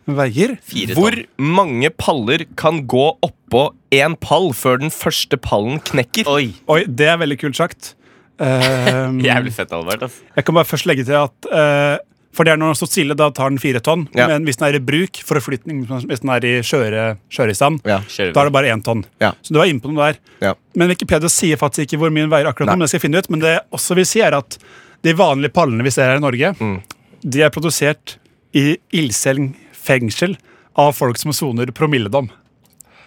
E: Veier?
D: Fire
B: Hvor
D: tonn.
B: mange paller kan gå oppå én pall før den første pallen knekker?
D: Oi,
E: Oi, det er veldig kult sagt. Ehm,
D: jævlig fett, Albert. ass.
E: jeg kan bare først legge til at eh, For det er når den står stille, da tar den fire tonn.
B: Ja.
E: Men hvis den er i bruk, forflytning, hvis den er i kjøre, kjørestand,
B: Ja.
D: Kjører
E: da er
D: vi.
E: det bare én tonn.
B: Ja.
E: Så du er inne på noe der.
B: Ja.
E: Men Wikipedia sier faktisk ikke hvor mye den veier akkurat
B: Nei.
E: nå. Men det skal jeg finne ut Men det jeg også vil si er at de vanlige pallene vi ser her i Norge,
B: Mm.
E: de er produsert i ildseng fengsel av folk som soner promilledom.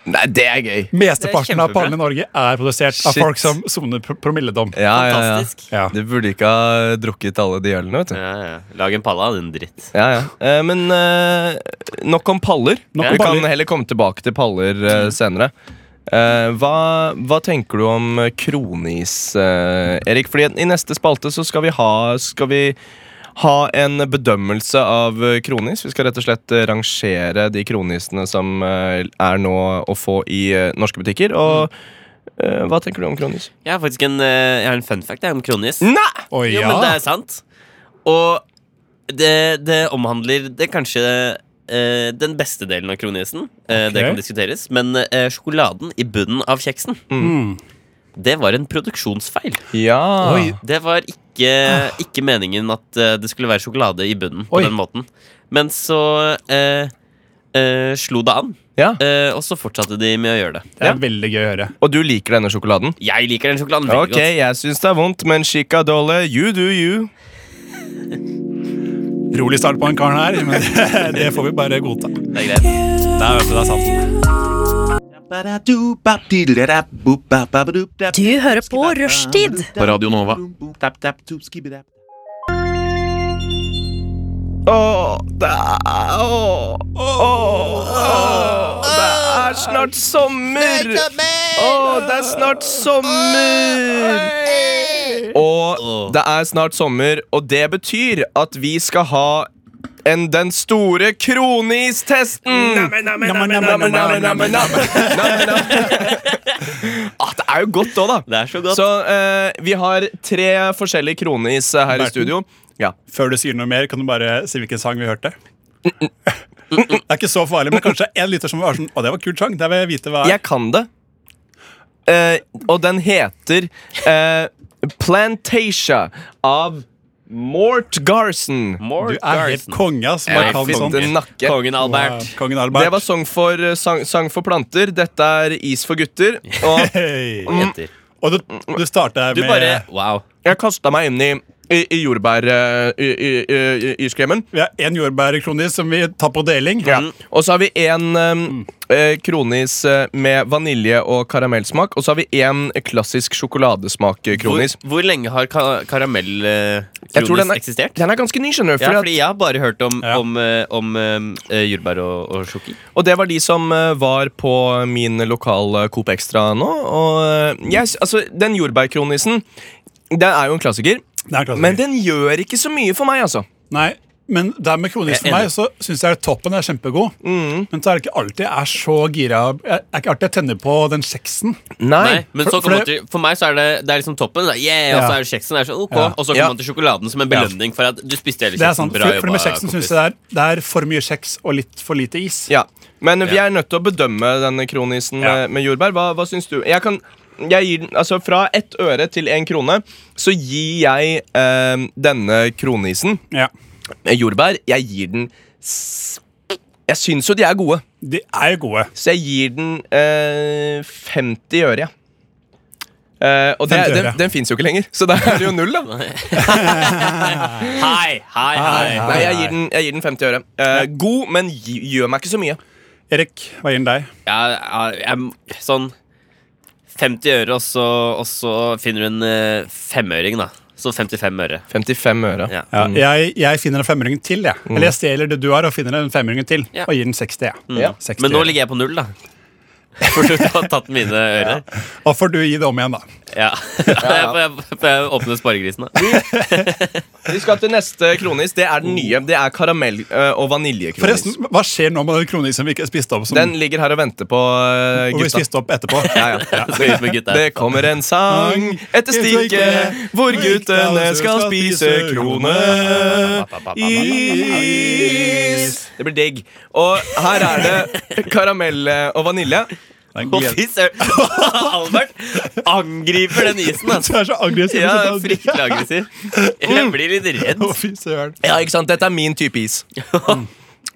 B: Nei, det er gøy.
E: Mesteparten av
D: kjempebra.
E: pallene i Norge er produsert
B: Shit.
E: av folk som soner pro promilledom.
B: Ja, ja, ja.
D: Fantastisk.
E: Ja.
B: Du burde ikke ha drukket alle de ølene, vet du.
D: Ja, ja. Lag en palle av den dritt.
B: Ja, ja. Eh, men eh, nok om paller. vi
E: Nok om
B: kan
E: paller. Mm.
B: heller komme tilbake til paller eh, senere. Eh, hva, hva tenker du om eh, kronis, eh, Erik? Fordi i neste spalte så skal vi ha Skal vi ha en bedømmelse av eh, kronis. Vi skal rett og slett eh, rangere de kronisene som eh, er nå å få i eh, norske butikker. Og
E: Mm.
B: eh, hva tenker du om kronis?
D: Jeg har faktisk en, eh, jeg har en fun fact jeg, om Kronis.
B: Nei!
E: Oi,
D: Jo,
E: Mm, ja.
D: men det er sant. Og det, det omhandler det kanskje eh, den beste delen av kronisen. Eh, Det
E: Ok.
D: kan diskuteres. Men eh, sjokoladen i bunnen av kjeksen,
E: Mm.
D: Mm. det var en produksjonsfeil.
B: Ja.
E: Oi.
D: Det var ikke, ikke meningen at eh, det skulle være sjokolade i bunnen på
E: Oi.
D: den måten. Men så eh, eh, slo det an,
B: Ja.
D: eh, og så fortsatte de med å gjøre det.
E: Det er veldig gøy å høre.
B: Og du liker denne sjokoladen?
D: Jeg liker den sjokoladen veldig
B: Ok, jeg syns det er vondt, men chica dolle, you do you.
E: Rolig start på han karen her, men det får vi bare godta.
D: godt. Det er greit.
E: Der, vet du, det er sant.
C: Du hører på Rushtid
F: På Radio Nova.
B: Åh, det er åh, åh, åh, Det er snart sommer! Åh, det er snart sommer! Og det er snart sommer, og det betyr at vi skal ha en, den store kronistesten!
E: Nammen, nammen, nammen, nammen.
B: Ah, det er jo godt òg, da.
D: Det er så godt.
B: Så eh, vi har tre forskjellige kronis eh, her i
E: Berten?
B: studio. Ja.
E: Før du sier noe mer, kan du bare si hvilken sang vi hørte? Det er ikke så farlig, men kanskje en lytter som var sånn Å, det var en kul sang. Det vil jeg vite hva er.
B: Jeg kan det. Eh, og den heter eh, Plantasia av Mort Garson.
E: Du
D: Mort
E: er helt
D: Garson.
E: konge, ass.
D: Jeg
E: Man
D: er
E: kan
D: helt
E: sånn.
B: Fitte nakke.
D: Kongen Albert.
E: Wow, Kongen
B: Det var
E: Albert.
B: sang for, eh, sang, sang for planter. Dette er is for gutter. Og
E: Hei.
D: Jenter.
E: Og du, du starta
D: Du
E: med
D: bare Wow.
B: jeg kasta meg inn i, i, i jordbær... eh, i, i, i, i, iskremen.
E: Vi har én jordbærkronis som vi tar på deling.
B: Ja. Og så har vi en ehm, eh, kronis eh, med vanilje og karamellsmak. Og så har vi en klassisk eh,
D: Hvor,
B: sjokoladesmak-kronis.
D: hvor lenge har ka
B: Jeg tror den
D: karamellkronis
B: er-
D: eksistert?
B: Den er ganske ny, skjønner du.
D: Ja,
B: fordi at-
D: fordi jeg har bare hørt om,
E: Ja.
D: om, eh, om eh, jordbær og, og sjoki.
B: Og det var de som eh, var på min lokal eh, Coop Extra nå. Og eh, jeg, s- altså, den jordbærkronisen, den er jo en klassiker.
E: Det er klassisk.
B: Men den gjør ikke så mye for meg, altså.
E: Nei, Men der med kronisk for
D: Jeg er
E: meg, så syns jeg toppen er kjempegod. Men så er det ikke alltid jeg er så gira Jeg er ikke alltid jeg tenner på den kjeksen.
D: Nei, men
E: for-
D: så
E: for
D: kommer man
E: det-
D: til, for meg så er det, det er liksom toppen. Da. Yeah, Og
E: Ja.
D: så er det kjeksen. Det er sånn, ok
E: Ja.
D: Og så kommer
B: Ja.
D: man til sjokoladen som en belønning for at du spiste hele
E: Det er
D: kjeksen.
E: sant, for,
D: Bra
E: for
D: jobba,
E: med kjeksen
D: kompis.
E: syns jeg det er, det er for mye kjeks og litt for lite is.
B: Ja, Men vi
D: Ja.
B: er nødt til å bedømme denne kronisen
E: Ja.
B: med, med jordbær. Hva, hva syns du? Jeg kan, jeg gir den, altså Fra ett øre til én krone så gir jeg eh, denne kronisen,
E: Ja.
B: eh, jordbær, jeg gir den s- Jeg syns jo de er gode,
E: De er jo gode.
B: så jeg gir den eh, 50 øre, jeg. Eh, og det,
E: 50
B: den,
E: øre.
B: den fins jo ikke lenger, så da er det jo null, da.
D: Hei, hei, hei.
B: Nei, jeg gir den, jeg gir den 50 øre. Eh, god, men gi, gjør meg ikke så mye.
E: Erik, hva gir den deg?
D: Jeg, jeg, jeg, sånn 50 øre, og så, og så finner du en eh, femøring, da. Så 55 øre.
B: 55 øre.
D: Ja.
E: Ja, jeg, jeg finner en femøring til, jeg. Eller jeg stjeler det du har, og finner en femøring til.
D: Ja.
E: Og gir den 60, jeg.
B: Ja.
E: 60
D: Men nå
E: øre.
D: ligger jeg på null, da. For du har tatt mine ører.
E: Da får du gi det om igjen, da.
D: Ja. Jeg får jeg får åpne sparegrisen, da.
B: Vi skal til neste kronis. Det er den nye. Det er karamell- ø, og
E: Forresten,
B: vaniljekronis.
E: hva skjer nå med den kronisen vi ikke spiste opp? Som,
B: Den ligger her og venter på ø,
E: og vi
B: gutta.
E: spiste opp etterpå.
B: Ja, ja.
D: Skal ut med gutta.
B: Det kommer en sang etter stikket hvor guttene skal spise krone. Is. Det blir digg. Og her er det karamell eh, og vanilje.
E: Den
D: Å,
E: gleder-
D: fy søren! Albert angriper den isen, altså.
E: Du er så aggressiv.
D: Ja,
E: så da-
D: fryktelig aggressiv. Jeg blir litt redd.
E: Å, fy søren.
B: Ja, ikke sant? Dette er min type is.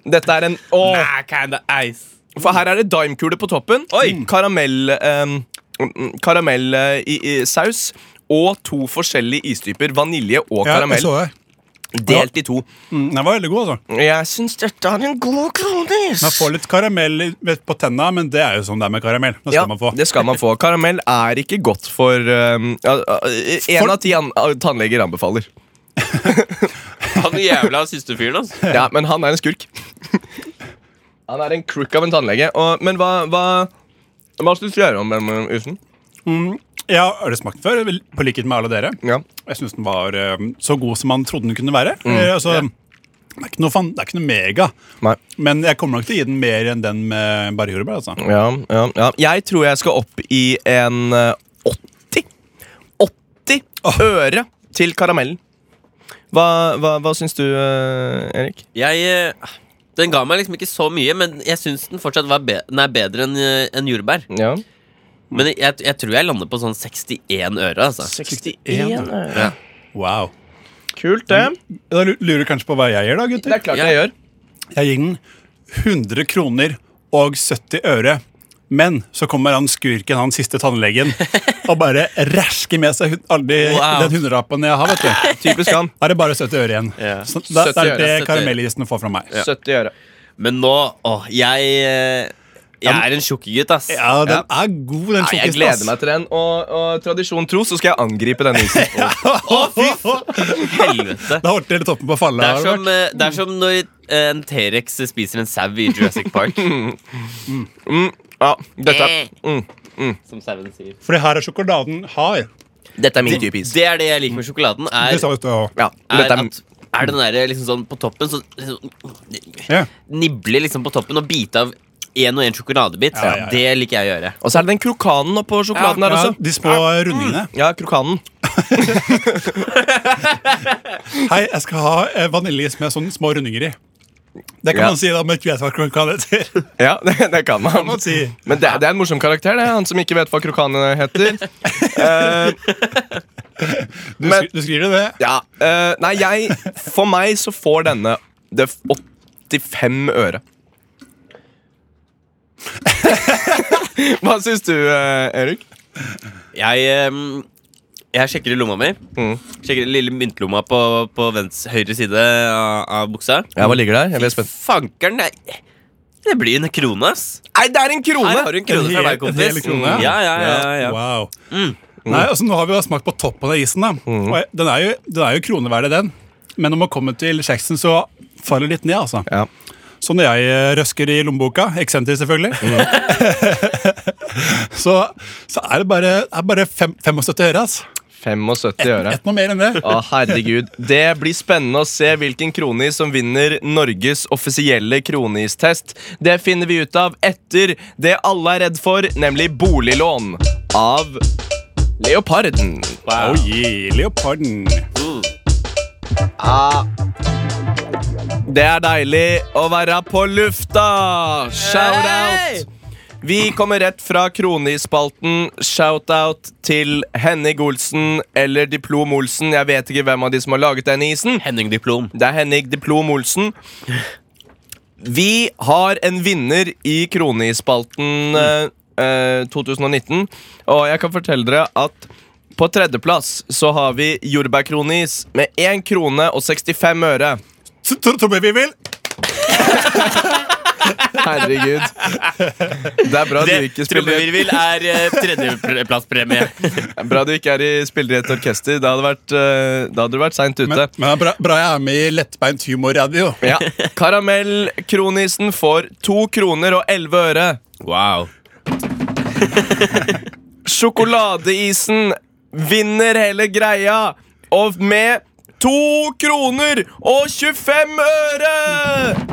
B: Dette er en Åh.
D: Ah, Mm. kinda ice.
B: For her er det daimkule på toppen. Oi, karamell ehm, mm, Karamell eh, i, i saus. Og to forskjellige istyper. Vanilje og
E: Ja, jeg
B: karamell.
E: så det.
B: Delt i to.
E: Mm, Den var veldig god, altså.
B: Jeg syns dette er en god kronis.
E: Man får litt karamell i- vet, på tenna, men det er jo sånn det er med karamell. Det skal
B: Ja,
E: man få.
B: det skal man få. Karamell er ikke godt for ehm, ja, ja, En
E: For-
B: av ti an ah, tannleger anbefaler.
D: Han jævla siste fyren, altså.
B: Ja, Men han er en skurk. Han er en crook av en tannlege. Og, men hva Hva, hva syns du om den eh, isen?
E: Ja, Har dere smakt den før? Vel, På likhet med alle dere.
B: Ja.
E: Jeg syns den var eh, så god som man trodde den kunne være.
B: Mm.
E: Eh, altså, det, er ikke noe fan, det er ikke noe mega,
B: Nei.
E: men jeg kommer nok til å gi den mer enn den med bare jordbær. Altså.
B: Ja, ja, ja. Jeg tror jeg skal opp i en eh, 80 80 øre til karamellen. Hva, hva, hva syns du, eh, Erik?
D: Jeg eh, Den ga meg liksom ikke så mye, men jeg syns den fortsatt var be den er bedre enn eh, enn jordbær.
B: Ja.
D: Men jeg, jeg tror jeg lander på sånn 61 øre, altså.
E: 61
B: øre.
E: Wow.
B: Kult, det.
E: Da lu- lurer du kanskje på hva jeg gir, da, gutter?
B: Mm. Det er klart jeg gjør.
E: Jeg gir den 100 kroner og 70 øre. Men så kommer han skurken, han siste tannlegen, og bare ræsker med seg hun- alle de,
D: Wow.
E: den hundrelappen jeg har. vet du.
B: Typisk han.
E: Da er det bare 70 øre igjen.
D: Ja.
E: Så da, da
B: 70
E: er
B: øre,
E: det
D: 70 øre.
E: det karamellisen får fra meg.
B: 70 øre.
D: Men nå åh, jeg eh, Jeg er en tjukkegutt, ass.
E: Ja, den er god, den
B: Nei, jeg
E: sjokkisen, ass.
B: gleder meg til den, og, og tradisjon tro så skal jeg angripe denne isen.
D: Helvete.
E: Da holdt dere toppen på å falle.
D: Det er
E: Albert.
B: sånn-
D: som, eh, det er som når eh, en T-rex spiser en sau i Jurassic Park. Eh.
B: Ja, dette, er-
D: Som sauen sier.
E: Fordi her er sjokoladen hard.
B: mm. dette er min type is.
D: Det er det jeg liker med sjokoladen.
E: Det
D: Er,
E: sa du også.
B: Ja,
D: er,
B: dette er,
D: at, er den der liksom sånn på toppen så, liksom,
E: Ja.
D: Nible liksom på toppen og bite av én og én sjokoladebit.
E: Ja, ja, ja.
D: Det liker jeg å gjøre.
B: og så er det den krokanen oppå sjokoladen her
E: Ja,
B: også.
E: de små rundingene.
B: Ja, krokanen.
E: Hei, jeg skal ha eh, vaniljeis med sånne små rundinger i. Det kan
B: Ja.
E: man si da, men ikke vet hva krokan heter.
B: Ja, det, det kan man.
E: man si.
B: Men det, er- det er en morsom karakter, det. er Han som ikke vet hva krokanene heter. Eh,
E: Du,
B: Men-
E: skri- du skriver det?
B: ja, eh, Nei, jeg For meg så får denne det f- 85 øre. Hva syns du, eh, Erik?
D: Jeg, ehm, jeg sjekker i lomma mi. Sjekker den lille myntlomma på, på vens, høyre side av, av buksa.
B: hva ligger der?
D: Fankeren, det, det blir en krone, ass.
B: Nei, det er en krone!
D: Her har du en krone
E: En
D: fra
E: hel-
D: meg,
E: en hel
D: kompis.
E: krone,
D: ja, ja, ja, ja, Mm. ja.
E: Wow. Nei, altså Nå har vi jo smakt på toppen av isen. da
B: Mm.
E: Og jeg- den, er jo, den er jo kroneverdig, den. Men når man kommer til kjeksen, så faller det litt ned. altså
B: Ja.
E: Så når jeg eh, røsker i lommeboka, eksentlig selvfølgelig,
B: Mm.
E: så, så er det bare, det er bare fem, 75 øre. altså
B: 75 øre.
E: Et noe mer enn det.
B: Å, herregud. Det blir spennende å se hvilken kronis som vinner Norges offisielle kronistest. Det finner vi ut av etter det alle er redd for, nemlig boliglån av Leoparden.
E: Oh yeah, leoparden.
B: Det er deilig å være på lufta! Shout-out! Vi kommer rett fra kronispalten. Shout-out til Henning Olsen eller Diplom Olsen. Jeg vet ikke hvem av de som har laget denne isen.
D: Henning Diplom.
B: Det er Henning Diplom Olsen. Vi har en vinner i Kronispalten eh, eh, 2019. Og jeg kan fortelle dere at på tredjeplass så har vi jordbærkronis med 1 krone og 65 øre.
E: Så tro- Tror vi vi vil?
B: Herregud. Det er bra, du, ikke spiller,
D: Trommevirvel er eh, tredjeplasspremie.
B: bra du ikke er i spiller i et orkester. Da hadde, vært, eh, da hadde du vært seint
E: Men,
B: ute.
E: men det er bra, bra jeg er med i lettbeint humorradio.
B: Ja. Karamellkronisen får 2 kroner og 11 øre.
D: Wow.
B: Sjokoladeisen vinner hele greia Og med 2 kroner og 25 øre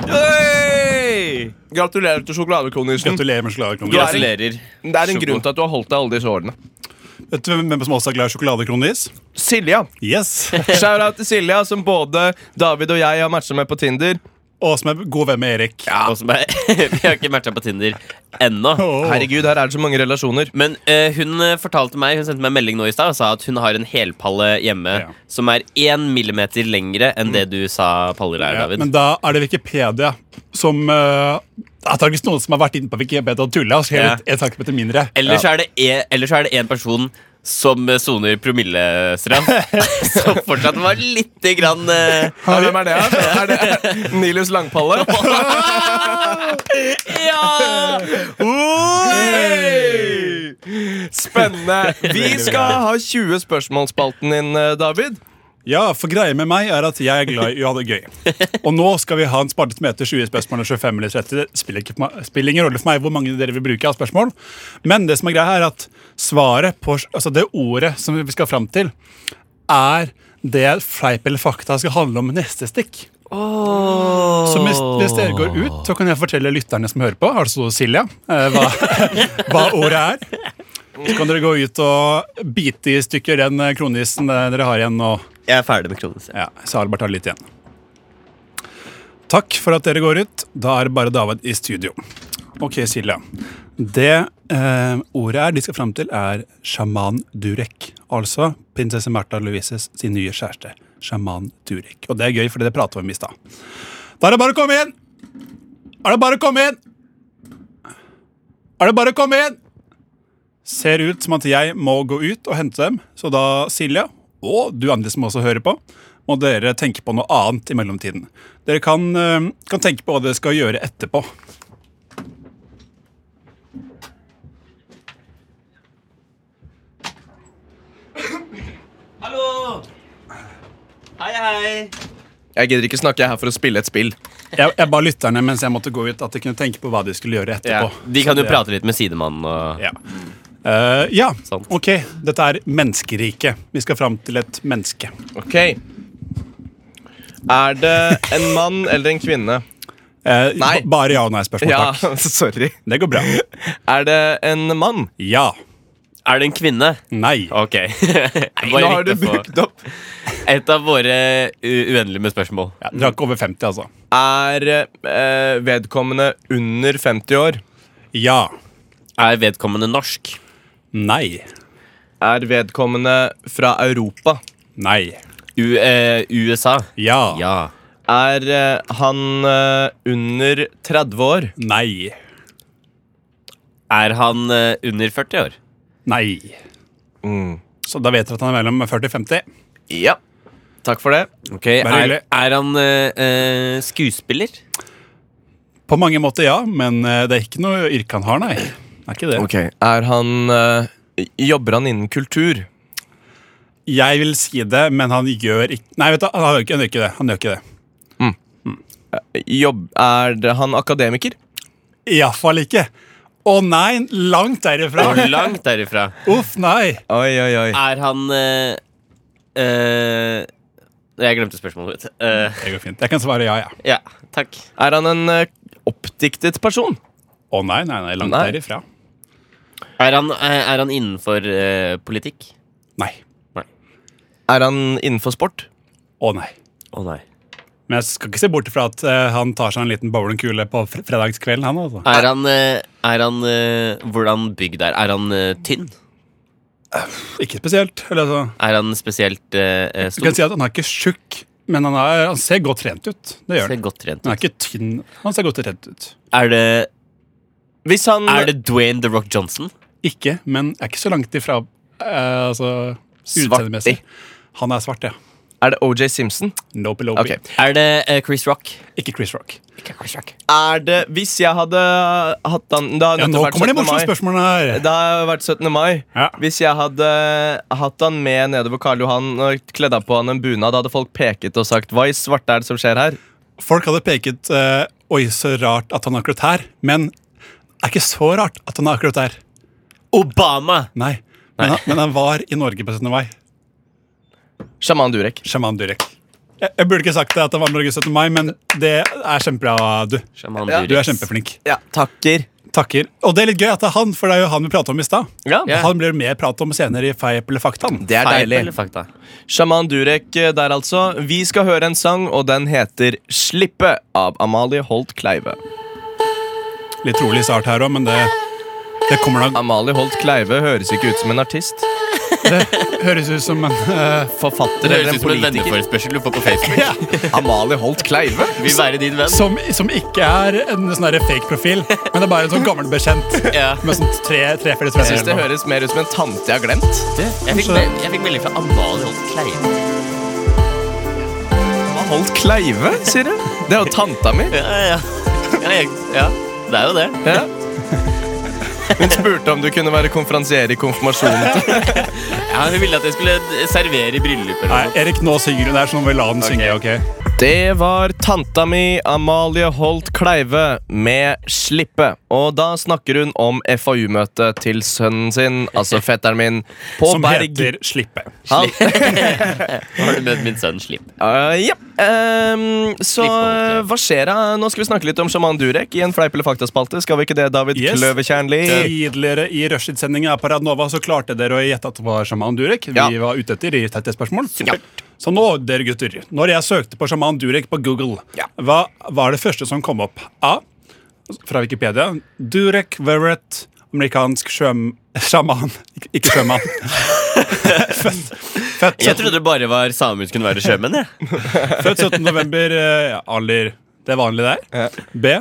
B: Hey! Gratulerer til sjokoladekronisen
E: Gratulerer med sjokoladekronis.
D: Gratulerer.
B: Det er en grunn til at du har holdt deg alle disse årene
E: Vet du hvem som også er glad i sjokoladekronis?
B: Silja
E: Yes.
B: Shoutout til Silja som både David og jeg har matchet med på Tinder
E: Og som er god venn med Erik.
D: Og som er, vi har ikke matcha på Tinder ennå.
E: Åh.
B: Herregud, her er det så mange relasjoner
D: Men eh, hun eh, fortalte meg Hun sendte meg en melding nå i stad og sa at hun har en helpalle hjemme
E: Ja.
D: som er én millimeter lengre enn det du sa paller er,
E: Ja,
D: David.
E: men da er det Wikipedia som uh, Antakeligvis noen som har vært inne på Wikipedia og tulla. Så
D: Ja.
E: helt en centimeter mindre.
D: Ellers, er det e, ellers er det en person som eh, soner promillestraff, som fortsatt var lite grann eh,
B: Ja, Hvem er det her? Er det Nilus Langpalle?
D: Ja!
B: Hey! Spennende Vi skal ha 20 spørsmålsspalten din, eh, David
E: Ja, for greia med meg er at jeg er glad i å ha det gøy. Og nå skal vi ha en spalte som heter 20 spørsmål og 25 eller 30. Det spiller, ikke, for meg- spiller ingen rolle for meg hvor mange dere vil bruke av spørsmål. Men det som er greia, er at svaret på Altså det ordet som vi skal fram til, er det fleip eller fakta skal handle om neste stikk. Så hvis, hvis dere går ut, så kan jeg fortelle lytterne som hører på, altså Silja, eh, hva, hva ordet er. Så kan dere gå ut og bite i stykker den eh, kronisen eh, dere har igjen. og
D: Jeg er ferdig med kronen.
E: ja, så Albert har litt igjen. Takk for at dere går ut. Da er det bare David i studio. Ok, Silja. Det eh, ordet er, de skal fram til, er sjaman Durek. Altså prinsesse Märtha Louises sin nye kjæreste. Sjaman Durek. Og det er gøy, for det pratet vi om i stad. Da er det bare å komme inn! Er det bare å komme inn? Er det bare å komme inn? Ser ut som at jeg må gå ut og hente dem, så da, Silja, og du andre som også hører på, må dere tenke på noe annet i mellomtiden. Dere kan, eh, kan tenke på hva dere skal gjøre etterpå.
D: Hallo! Hei, hei.
B: Jeg gidder ikke snakke jeg er her for å spille et spill
E: Jeg, jeg ba lytterne mens jeg måtte gå ut, at de kunne tenke på hva de skulle gjøre etterpå.
D: De kan jo prate litt med sidemannen og
E: Ja. Eh, ja,
D: Sant.
E: ok. Dette er menneskeriket. Vi skal fram til et menneske.
B: Ok Er det en mann eller en kvinne?
E: Eh,
B: Nei.
E: ba- Bare ja og nei-spørsmål, takk.
B: sorry
E: Det går bra.
B: Er det en mann?
E: Ja.
D: Er det en kvinne?
E: Nei.
D: Ok.
B: Nå
D: Nå
B: har du brukt opp
D: Et av våre u- uendelige med spørsmål.
E: Ja, Dere har ikke over 50, altså.
B: Er eh, vedkommende under 50 år?
E: Ja.
D: Er vedkommende norsk?
E: Nei.
B: Er vedkommende fra Europa?
E: Nei.
D: U eh, USA?
E: Ja.
D: Ja.
B: Er eh, han eh, under 30 år?
E: Nei.
D: Er han eh, under 40 år?
E: Nei.
D: Mm.
E: Så da vet dere at han er mellom 40 og 50.
B: Ja Takk for det
D: Ok, Er,
E: hyggelig.
D: er han eh, eh, skuespiller?
E: På mange måter ja, men eh, det er ikke noe yrke han har, nei. Det er ikke det.
B: Er han eh, Jobber han innen kultur?
E: Jeg vil si det, men han gjør ikke Nei, vet du, han gjør ikke, han gjør ikke det. Han gjør ikke det.
B: Jobb, er det han akademiker?
E: Iallfall ikke. Å nei, langt derifra.
D: Og langt derifra.
E: Uff, nei.
B: Oi, oi, oi.
D: Er han eh, eh, Jeg glemte spørsmålet mitt. Eh,
E: Det går fint. Jeg kan svare ja, ja.
D: ja, takk.
B: Er han en eh, oppdiktet person?
E: Å nei, nei, nei, langt
B: Nei.
E: derifra.
D: Er han, eh, er han innenfor eh, politikk?
E: Nei.
B: Er han innenfor sport?
E: Å nei.
D: Å nei.
E: Men jeg skal ikke se bort fra at eh, han tar seg en liten bowlingkule på fre- fredagskvelden. han altså.
D: Er han, eh, er han eh, Hvordan bygd er Er han eh, tynn?
E: Ikke spesielt. Eller, altså.
D: Er han spesielt eh, eh,
E: Du kan
D: stor?
E: si at han er ikke tjukk, men han, er, han ser godt trent ut. Det gjør
D: Ser
E: han.
D: godt trent
E: Han
D: ut.
E: er ikke tynn. Han ser godt trent ut.
D: Er det,
B: Hvis han
D: er det Dwayne The Rock Johnson?
E: Ikke, men er ikke så langt ifra eh, altså, utseendemessig. Han er svart, ja.
B: Er det OJ Simpson?
E: Nope, nope.
B: Ok.
D: Er det eh, Chris Rock?
E: Ikke Chris Rock.
D: Ikke Chris Rock.
B: Er det Hvis jeg hadde hatt han da,
E: Ja,
B: dette
E: nå
B: vært
E: kommer de
B: 17. mai.
E: morsomme spørsmålene her.
B: Det har vært 17. mai.
E: Ja.
B: Hvis jeg hadde hatt han med nedover Karl Johan og kledd av på han en bunad, hadde folk peket og sagt 'hva i svarte er det som skjer her'?
E: Folk hadde peket eh, Oi, så rart at han er akkurat her. Men det er ikke så rart at han er akkurat der.
D: Obama!
E: Nei. Men han, men han var i Norge på 17. mai.
B: Sjaman Durek.
E: Sjaman Durek. Jeg, jeg burde ikke sagt det at han var i Norge 17. mai, men det er kjempebra, du.
D: Shaman
B: Ja.
E: Du
D: Durek.
E: er kjempeflink.
B: Ja, takker.
E: Takker. Og det er litt gøy at det er han, for det er jo han vi prata om i stad.
B: Ja,
D: Ja.
E: Han blir mer prat om senere i Feip eller faktaen.
B: Det er
D: Feil eller
B: deilig.
D: fakta?
B: Sjaman Durek eh, der, altså. Vi skal høre en sang, og den heter 'Slippe' av Amalie Holt Kleive.
E: Litt rolig start her òg, men det, det kommer da
B: Amalie Holt Kleive høres ikke ut som en artist.
E: Det høres ut som en eh,
B: Forfatter
D: Det
B: eller en
D: høres ut som en
B: politiker.
D: venneforespørsel du får på Facebook.
B: Amalie Holt Kleive?
D: Vil være din venn.
E: som, som ikke er en sånn her fake profil, men det er bare en sånn gammel bekjent.
D: Ja.
E: Med sånn tre, tre felles
B: Jeg syns det
E: venner.
B: høres mer ut som en tante jeg har glemt.
D: Jeg fikk, mel- jeg fikk melding fra Amalie Holt Kleive.
B: Holt Kleive, sier du? Det er jo tanta mi.
D: Ja, ja. Ja, jeg, ja, det er jo det.
B: Ja. Hun spurte om du kunne være konferansier i konfirmasjonen.
D: Ja, Hun ville at jeg skulle servere i
E: Nei,
D: bryllup. Eller noe.
E: Erik, nå synger hun der, så nå må vi la den synge. ok?
B: Det var tanta mi, Amalie Holt Kleive, med 'Slippe'. Og da snakker hun om FAU-møtet til sønnen sin, altså fetteren min, på
E: Som
B: Berg.
E: heter Slippe.
B: Han-
D: Har du møtt min sønn Slipp?
B: Uh, ja. Ehm, så
D: Slippe, Holt Kleive.
B: hva skjer da? Nå skal vi snakke litt om sjaman Durek i en fleip eller faktaspalte. Skal vi ikke det, David
E: Yes.
B: Kløvertjernli?
E: Tidligere i Rushdie-sendinga på Radnova så klarte dere å gjette at det var sjaman Durek. Vi
B: Ja.
E: var ute etter i tette spørsmål. Så nå, dere gutter, når jeg søkte på sjaman Durek på Google,
B: Ja.
E: hva var det første som kom opp? A. Fra Wikipedia. Durek Verrett, amerikansk sjøm... sjaman. Ik ikke sjømann. født, født,
D: Jeg trodde det bare var samer som kunne være sjømenn. jeg.
E: født 17. november, eh, ja, alder Det er vanlig der. B.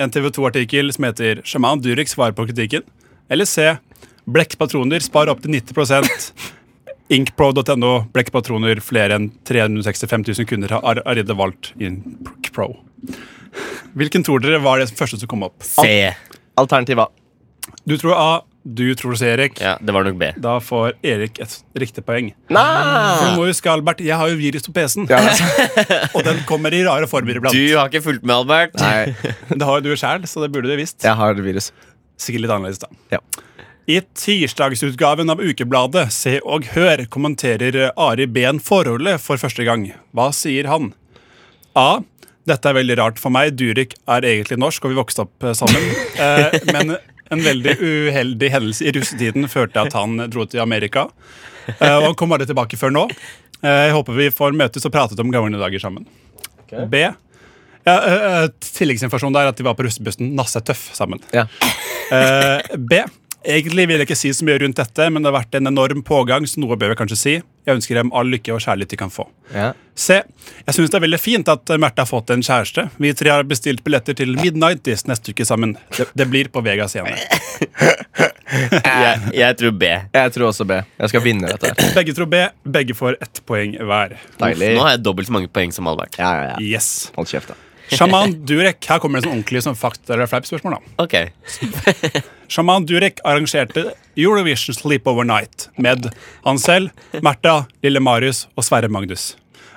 E: En TV 2-artikkel som heter 'Sjaman Durek svarer på kritikken'. Eller C. Blekkpatroner sparer opptil 90 Inkpro.no. Blekkpatroner flere enn 365 000 kunder har allerede valgt Inkpro. Hvilken tror dere var det som første som kom opp?
D: Se.
B: Alternativ A.
E: Du tror A. Du tror C, Erik.
D: Ja, det var nok B.
E: Da får Erik et riktig poeng.
D: Ah.
B: Nei!
E: Du må huske, Albert, jeg har jo virus på PC-en,
B: Ja.
E: og den kommer i rare former iblant.
D: Du har ikke fulgt med, Albert.
B: Nei,
E: Det har jo du sjæl, så det burde du visst.
B: jeg har virus.
E: Sikkert litt annerledes, da.
B: Ja.
E: I tirsdagsutgaven av ukebladet Se og Hør kommenterer Ari Behn forholdet for første gang. Hva sier han? A. Dette er veldig rart for meg. Durek er egentlig norsk, og vi vokste opp eh, sammen. Eh, men en veldig uheldig hendelse i russetiden førte til at han dro til Amerika. Eh, og han kom aldri tilbake før nå. Eh, jeg håper vi får møtes og pratet om gamle dager sammen. B. Ja, eh, eh, tilleggsinformasjon der er at de var på russebussen Nasse Tøff sammen.
B: Ja.
E: Eh, B. Egentlig vil jeg ikke si så mye rundt dette, men det har vært en enorm pågang, så noe bør vi kanskje si. Jeg ønsker dem all lykke og kjærlighet de kan få.
B: Ja.
E: C. Jeg syns det er veldig fint at Märtha har fått en kjæreste. Vi tre har bestilt billetter til Midnighties neste uke sammen. Det, det blir på Vegas igjen.
D: Jeg, jeg tror B.
B: Jeg tror også B. Jeg skal vinne dette. her.
E: Begge tror B. Begge får ett poeng hver.
B: Deilig.
D: Nå har jeg dobbelt så mange poeng som Albert.
B: Ja, ja, ja.
E: Yes.
B: Hold kjeft, da.
E: Sjaman Durek. Her kommer det sånn ordentlig sånn fakta- eller fleip-spørsmål. da.
D: Ok
E: Sjaman Durek arrangerte Eurovision Sleepover Night med han selv, Märtha, Lille Marius og Sverre Magnus.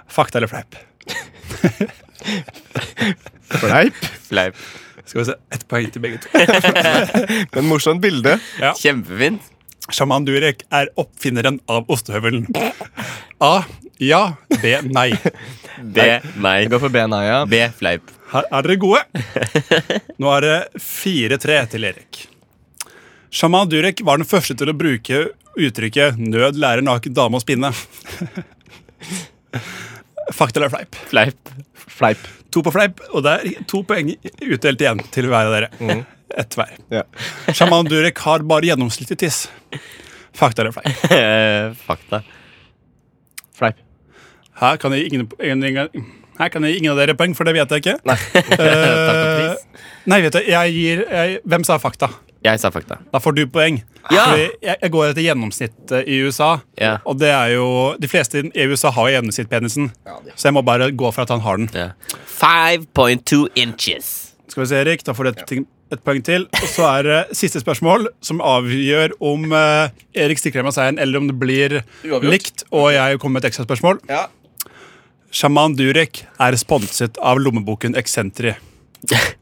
E: Fakta eller fleip?
B: Fleip?
D: Fleip.
E: Skal vi se, Ett poeng til begge to.
G: Men morsomt bilde.
D: Kjempefint.
E: Sjaman Durek er oppfinneren av ostehøvelen. A. Ja. B. Nei.
D: B. Nei.
G: Jeg går for Benaya.
D: B. Fleip.
E: Her er dere gode. Nå er det 4-3 til Erik. Sjaman Durek var den første til å bruke uttrykket 'nød lærer naken dame å spinne'. Fakta eller fleip?
D: Fleip.
G: Fleip.
E: To på fleip, og det er to poeng utdelt igjen til hver av dere. Ett hver.
G: Ja.
E: Sjaman Durek har bare gjennomsnittlig tiss. Fakta eller fleip?
D: Eh, fakta.
G: Fleip.
E: Her kan jeg ingen, ingen, ingen, her kan jeg ingen av dere poeng, for det vet jeg ikke. Nei,
D: og
E: nei vet du, jeg gir jeg, Hvem sa fakta?
D: Jeg sa fakta.
E: Da får du poeng.
D: Ja!
E: Fordi jeg, jeg går etter gjennomsnittet i USA,
D: Ja.
E: og det er jo De fleste i USA har jo gjennomsnittspenisen, så jeg må bare gå for at han har den.
D: Ja. 5.2 inches.
E: Skal vi se, Erik, Da får du et, ting, et poeng til. Og så er det siste spørsmål, som avgjør om eh, Erik stikker hjem av seieren, eller om det blir
G: Uavgjort.
E: likt, og jeg kommer med et ekstra spørsmål.
G: Ja.
E: Sjaman Durek er sponset av lommeboken Eksentri.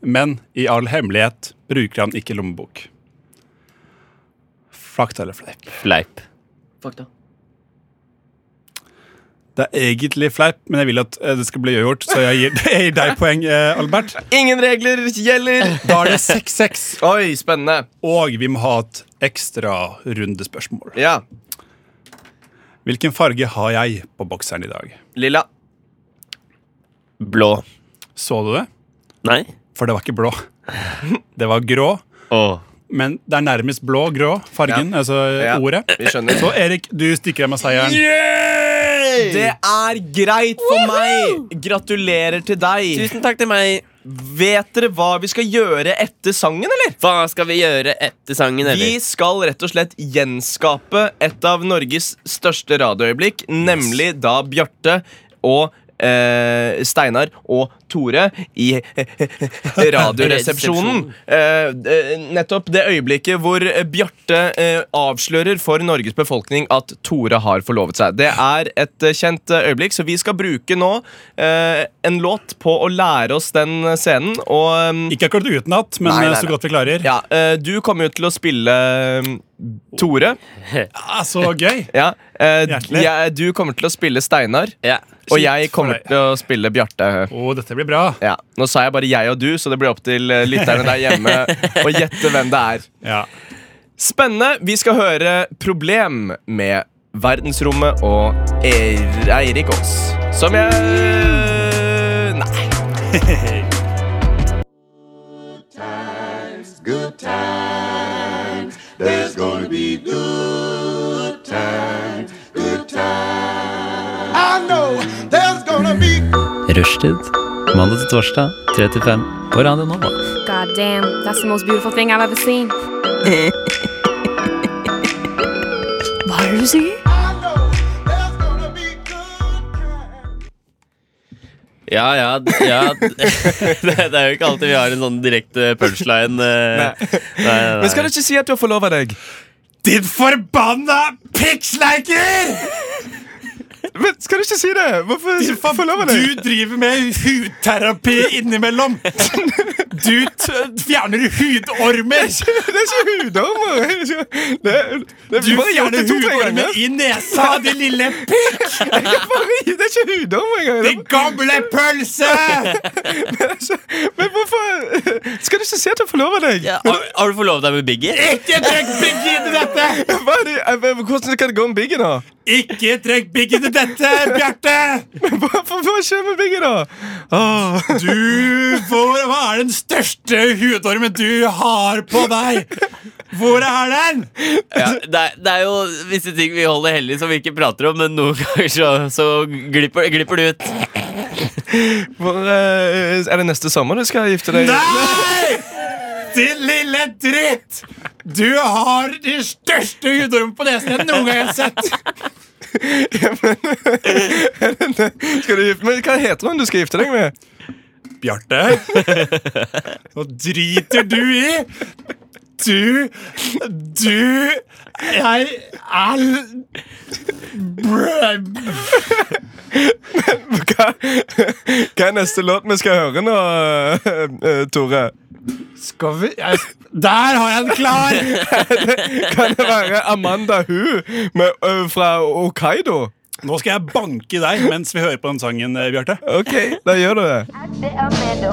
E: Men i all hemmelighet bruker han ikke lommebok. Fakta eller fleip?
D: Fleip.
E: Det er egentlig fleip, men jeg vil at eh, det skal bli gjort, så jeg gir, jeg gir deg poeng, eh, Albert.
G: Ingen regler gjelder!
E: Da er det 6-6,
G: Oi, spennende.
E: og vi må ha et ekstra rundespørsmål.
G: Ja.
E: Hvilken farge har jeg på bokseren i dag?
G: Lilla.
D: Blå.
E: Så du det?
D: Nei?
E: For det var ikke blå. Det var grå,
D: Åh.
E: men det er nærmest blå-grå fargen, altså
G: Ja.
E: ordet.
G: Vi skjønner.
E: Så Erik, du stikker deg med seieren.
B: Det er greit for meg. Gratulerer til deg.
D: Tusen takk til meg.
B: Vet dere hva vi skal gjøre etter sangen, eller?
D: Hva skal vi gjøre etter sangen,
B: Vi
D: eller?
B: skal rett og slett gjenskape et av Norges største radioøyeblikk, nemlig da Bjarte og eh, Steinar og Tore i Radioresepsjonen. Eh, eh, nettopp det øyeblikket hvor eh, Bjarte eh, avslører for Norges befolkning at Tore har forlovet seg. Det er et eh, kjent eh, øyeblikk, så vi skal bruke nå eh, en låt på å lære oss den eh, scenen. Og eh,
E: Ikke akkurat utenat, men
B: Nei, nei,
E: eh, så
B: nei.
E: godt vi klarer.
B: ja, eh, du kommer jo til å spille mm, Tore.
E: Ah, så gøy!
B: Ja, eh,
E: Hjertelig.
B: jeg- du kommer til å spille Steinar,
D: Ja.
B: og
E: Shit,
B: jeg kommer
E: for deg.
B: til å spille Bjarte.
E: Å, dette blir bra.
B: Ja. Nå sa jeg bare jeg og du, så det blir opp til eh, lytterne der hjemme å gjette hvem det er.
E: Ja.
B: Spennende. Vi skal høre Problem med Verdensrommet og Eir- Eirik Aas. Som jeg Nei.
H: Rushtid. Mandag til torsdag, 3 til 5 på Radio Nova.
I: God damn, that's the most beautiful thing I've ever seen.
J: Hva er det du sier?
D: Ja, ja, d- ja. d- Det, det er jo ikke alltid vi har en sånn direkte punchline. eh. Nei, nei, nei.
B: Men skal du ikke si at du har forlova deg?
E: Din forbanna pikksleiker!
B: Men skal du ikke si det? Hvorfor forlova
E: Du driver med hudterapi innimellom. Du t fjerner hudormer.
B: Det er ikke hudormer! Det, det,
E: Du fjerner hudormer i nesa, din lille pikk!
B: Det er ikke hudormer engang!
E: Din gamle pølse!
B: Men hvorfor Skal du ikke se at jeg forlover deg?
D: Ja, har, har du forlovet deg med Biggie?
E: Ikke trekk Bigg inn i dette!
B: Hva er det, eh, hvordan kan det gå med Biggie, da?
E: Ikke trekk Bigg inn i dette, Bjarte!
B: Hva, hva- hva skjer med Biggie, da? Åh.
E: Du, hvor, hva er den største hudormen du har på deg? Hvor er den?
D: Ja, det, er, det er jo visse ting vi holder hellig som vi ikke prater om, men noen ganger så, så glipper, glipper det ut.
B: Hvor, eh, er det neste sommer du skal gifte deg?
E: Nei! Din lille dritt! Du har de største hudormene på nesen jeg noen gang har sett.
B: Skal du gifte, men hva heter hun du skal gifte deg med?
E: Bjarte, nå driter du i. Du Du Jeg er Brø-
B: Hva, hva er neste låt vi skal høre nå, eh, eh, Tore? Skal vi jeg,
E: Der har jeg den klar!
B: Kan det være Amanda Hu med, ø, fra Hokkaido?
E: Nå skal jeg banke deg mens vi hører på den sangen, eh, Bjarte.
B: Ok, da gjør du det.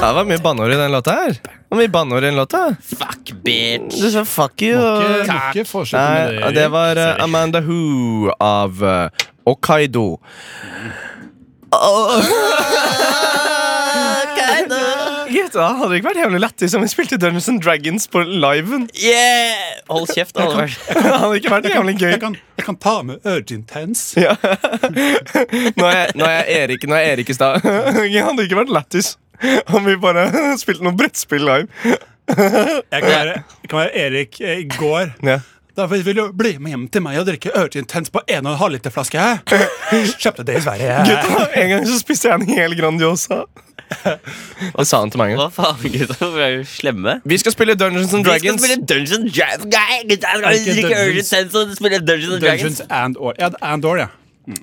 B: Ja, det var mye banneord i den låta her. Det var mye banneord i den låta.
D: Fuck, bitch.
B: Du sa fuck you.
E: Ikke- må ikke fortsette med
B: Nei, det
E: Erik.
B: var eh, Amanda Who av eh, Hokkaido. Gutta, hadde det ikke vært hemmelig lættis om vi spilte Dungeons and Dragons på liven?
D: Yeah! Hold kjeft. Alle vært.
B: hadde ikke vært jævlig gøy.
E: Jeg kan, jeg kan ta med Urgent Hands.
B: Ja. Nå er, nå er jeg Erik, nå er jeg Erik i stad. Det hadde ikke vært lættis om vi bare spilte noe brettspill live.
E: Jeg kan være, jeg kan være Erik eh, i går.
B: Ja.
E: Da vil du bli med hjem til meg og drikke Urgent Hands på 1,5 liter flaske. hæ? Kjøpte det i Sverige.
B: Gutta, en gang så spiste jeg en hel Grandiosa. Det sa han til meg en gang.
D: Hva faen, gutta? Hvorfor er vi slemme?
B: Vi skal spille Dungeons and
D: Vi skal
B: Dragons.
D: spille Dungeons Dragons. Nei, gutta, skal vi
E: Ikke
D: drikke
E: Dungeons.
D: Urgent Sense og spille Dungeons Dragons.
E: Dungeons and Or. Ja, and or, ja.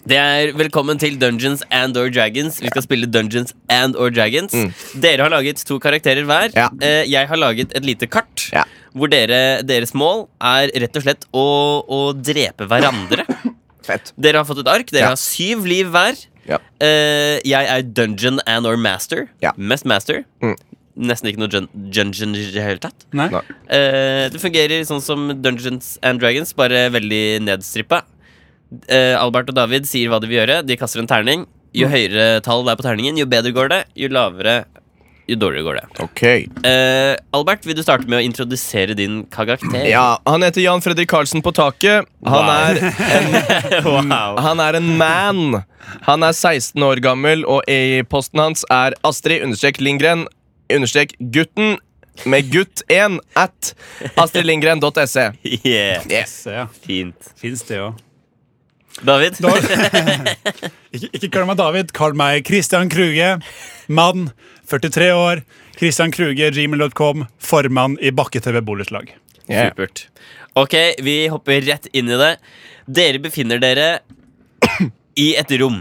D: Det er Velkommen til Dungeons and or Dragons. Vi skal spille Dungeons and or Dragons. Dere har laget to karakterer hver.
B: Mm. Ja.
D: Eh, Jeg har laget et lite kart.
B: Ja.
D: Hvor dere, deres mål er rett og slett å, å drepe hverandre.
B: Fett.
D: Dere har fått et ark. Dere
B: Ja.
D: har syv liv hver.
B: Ja.
D: Eh, jeg er dungeon and or master.
B: Ja.
D: Mest master.
B: Mm. Nesten
D: Nesten ikke noe jun- dungeon i det hele tatt.
E: Nei.
B: Nei.
D: Eh, det fungerer sånn som Dungeons and Dragons, bare veldig nedstrippa. Eh, Albert og David sier hva de vil gjøre. De kaster en terning. Jo høyere tall det er på terningen, jo bedre går det. Jo lavere, jo dårligere går det.
B: Ok.
D: Eh, Albert, vil du starte med å introdusere din karakter?
B: Ja, han heter Jan Fredrik Karlsen på taket. Han
D: Wow.
B: er
D: wow.
B: Han er en man. Han er 16 år gammel, og e-posten hans er Astrid understrek Lindgren understrek gutten med gutt1 at astridlindgren.se.
D: Yeah.
E: Se, ja.
D: Fint.
E: Fins det òg.
D: David?
E: Ikke, ikke kall meg David, kall meg Christian Kruge. Mann, 43 år. Christian Kruge, gmail.com, formann i Bakke-TV Borettslag.
B: Yeah.
D: Supert. Ok, vi hopper rett inn i det. Dere befinner dere i et rom.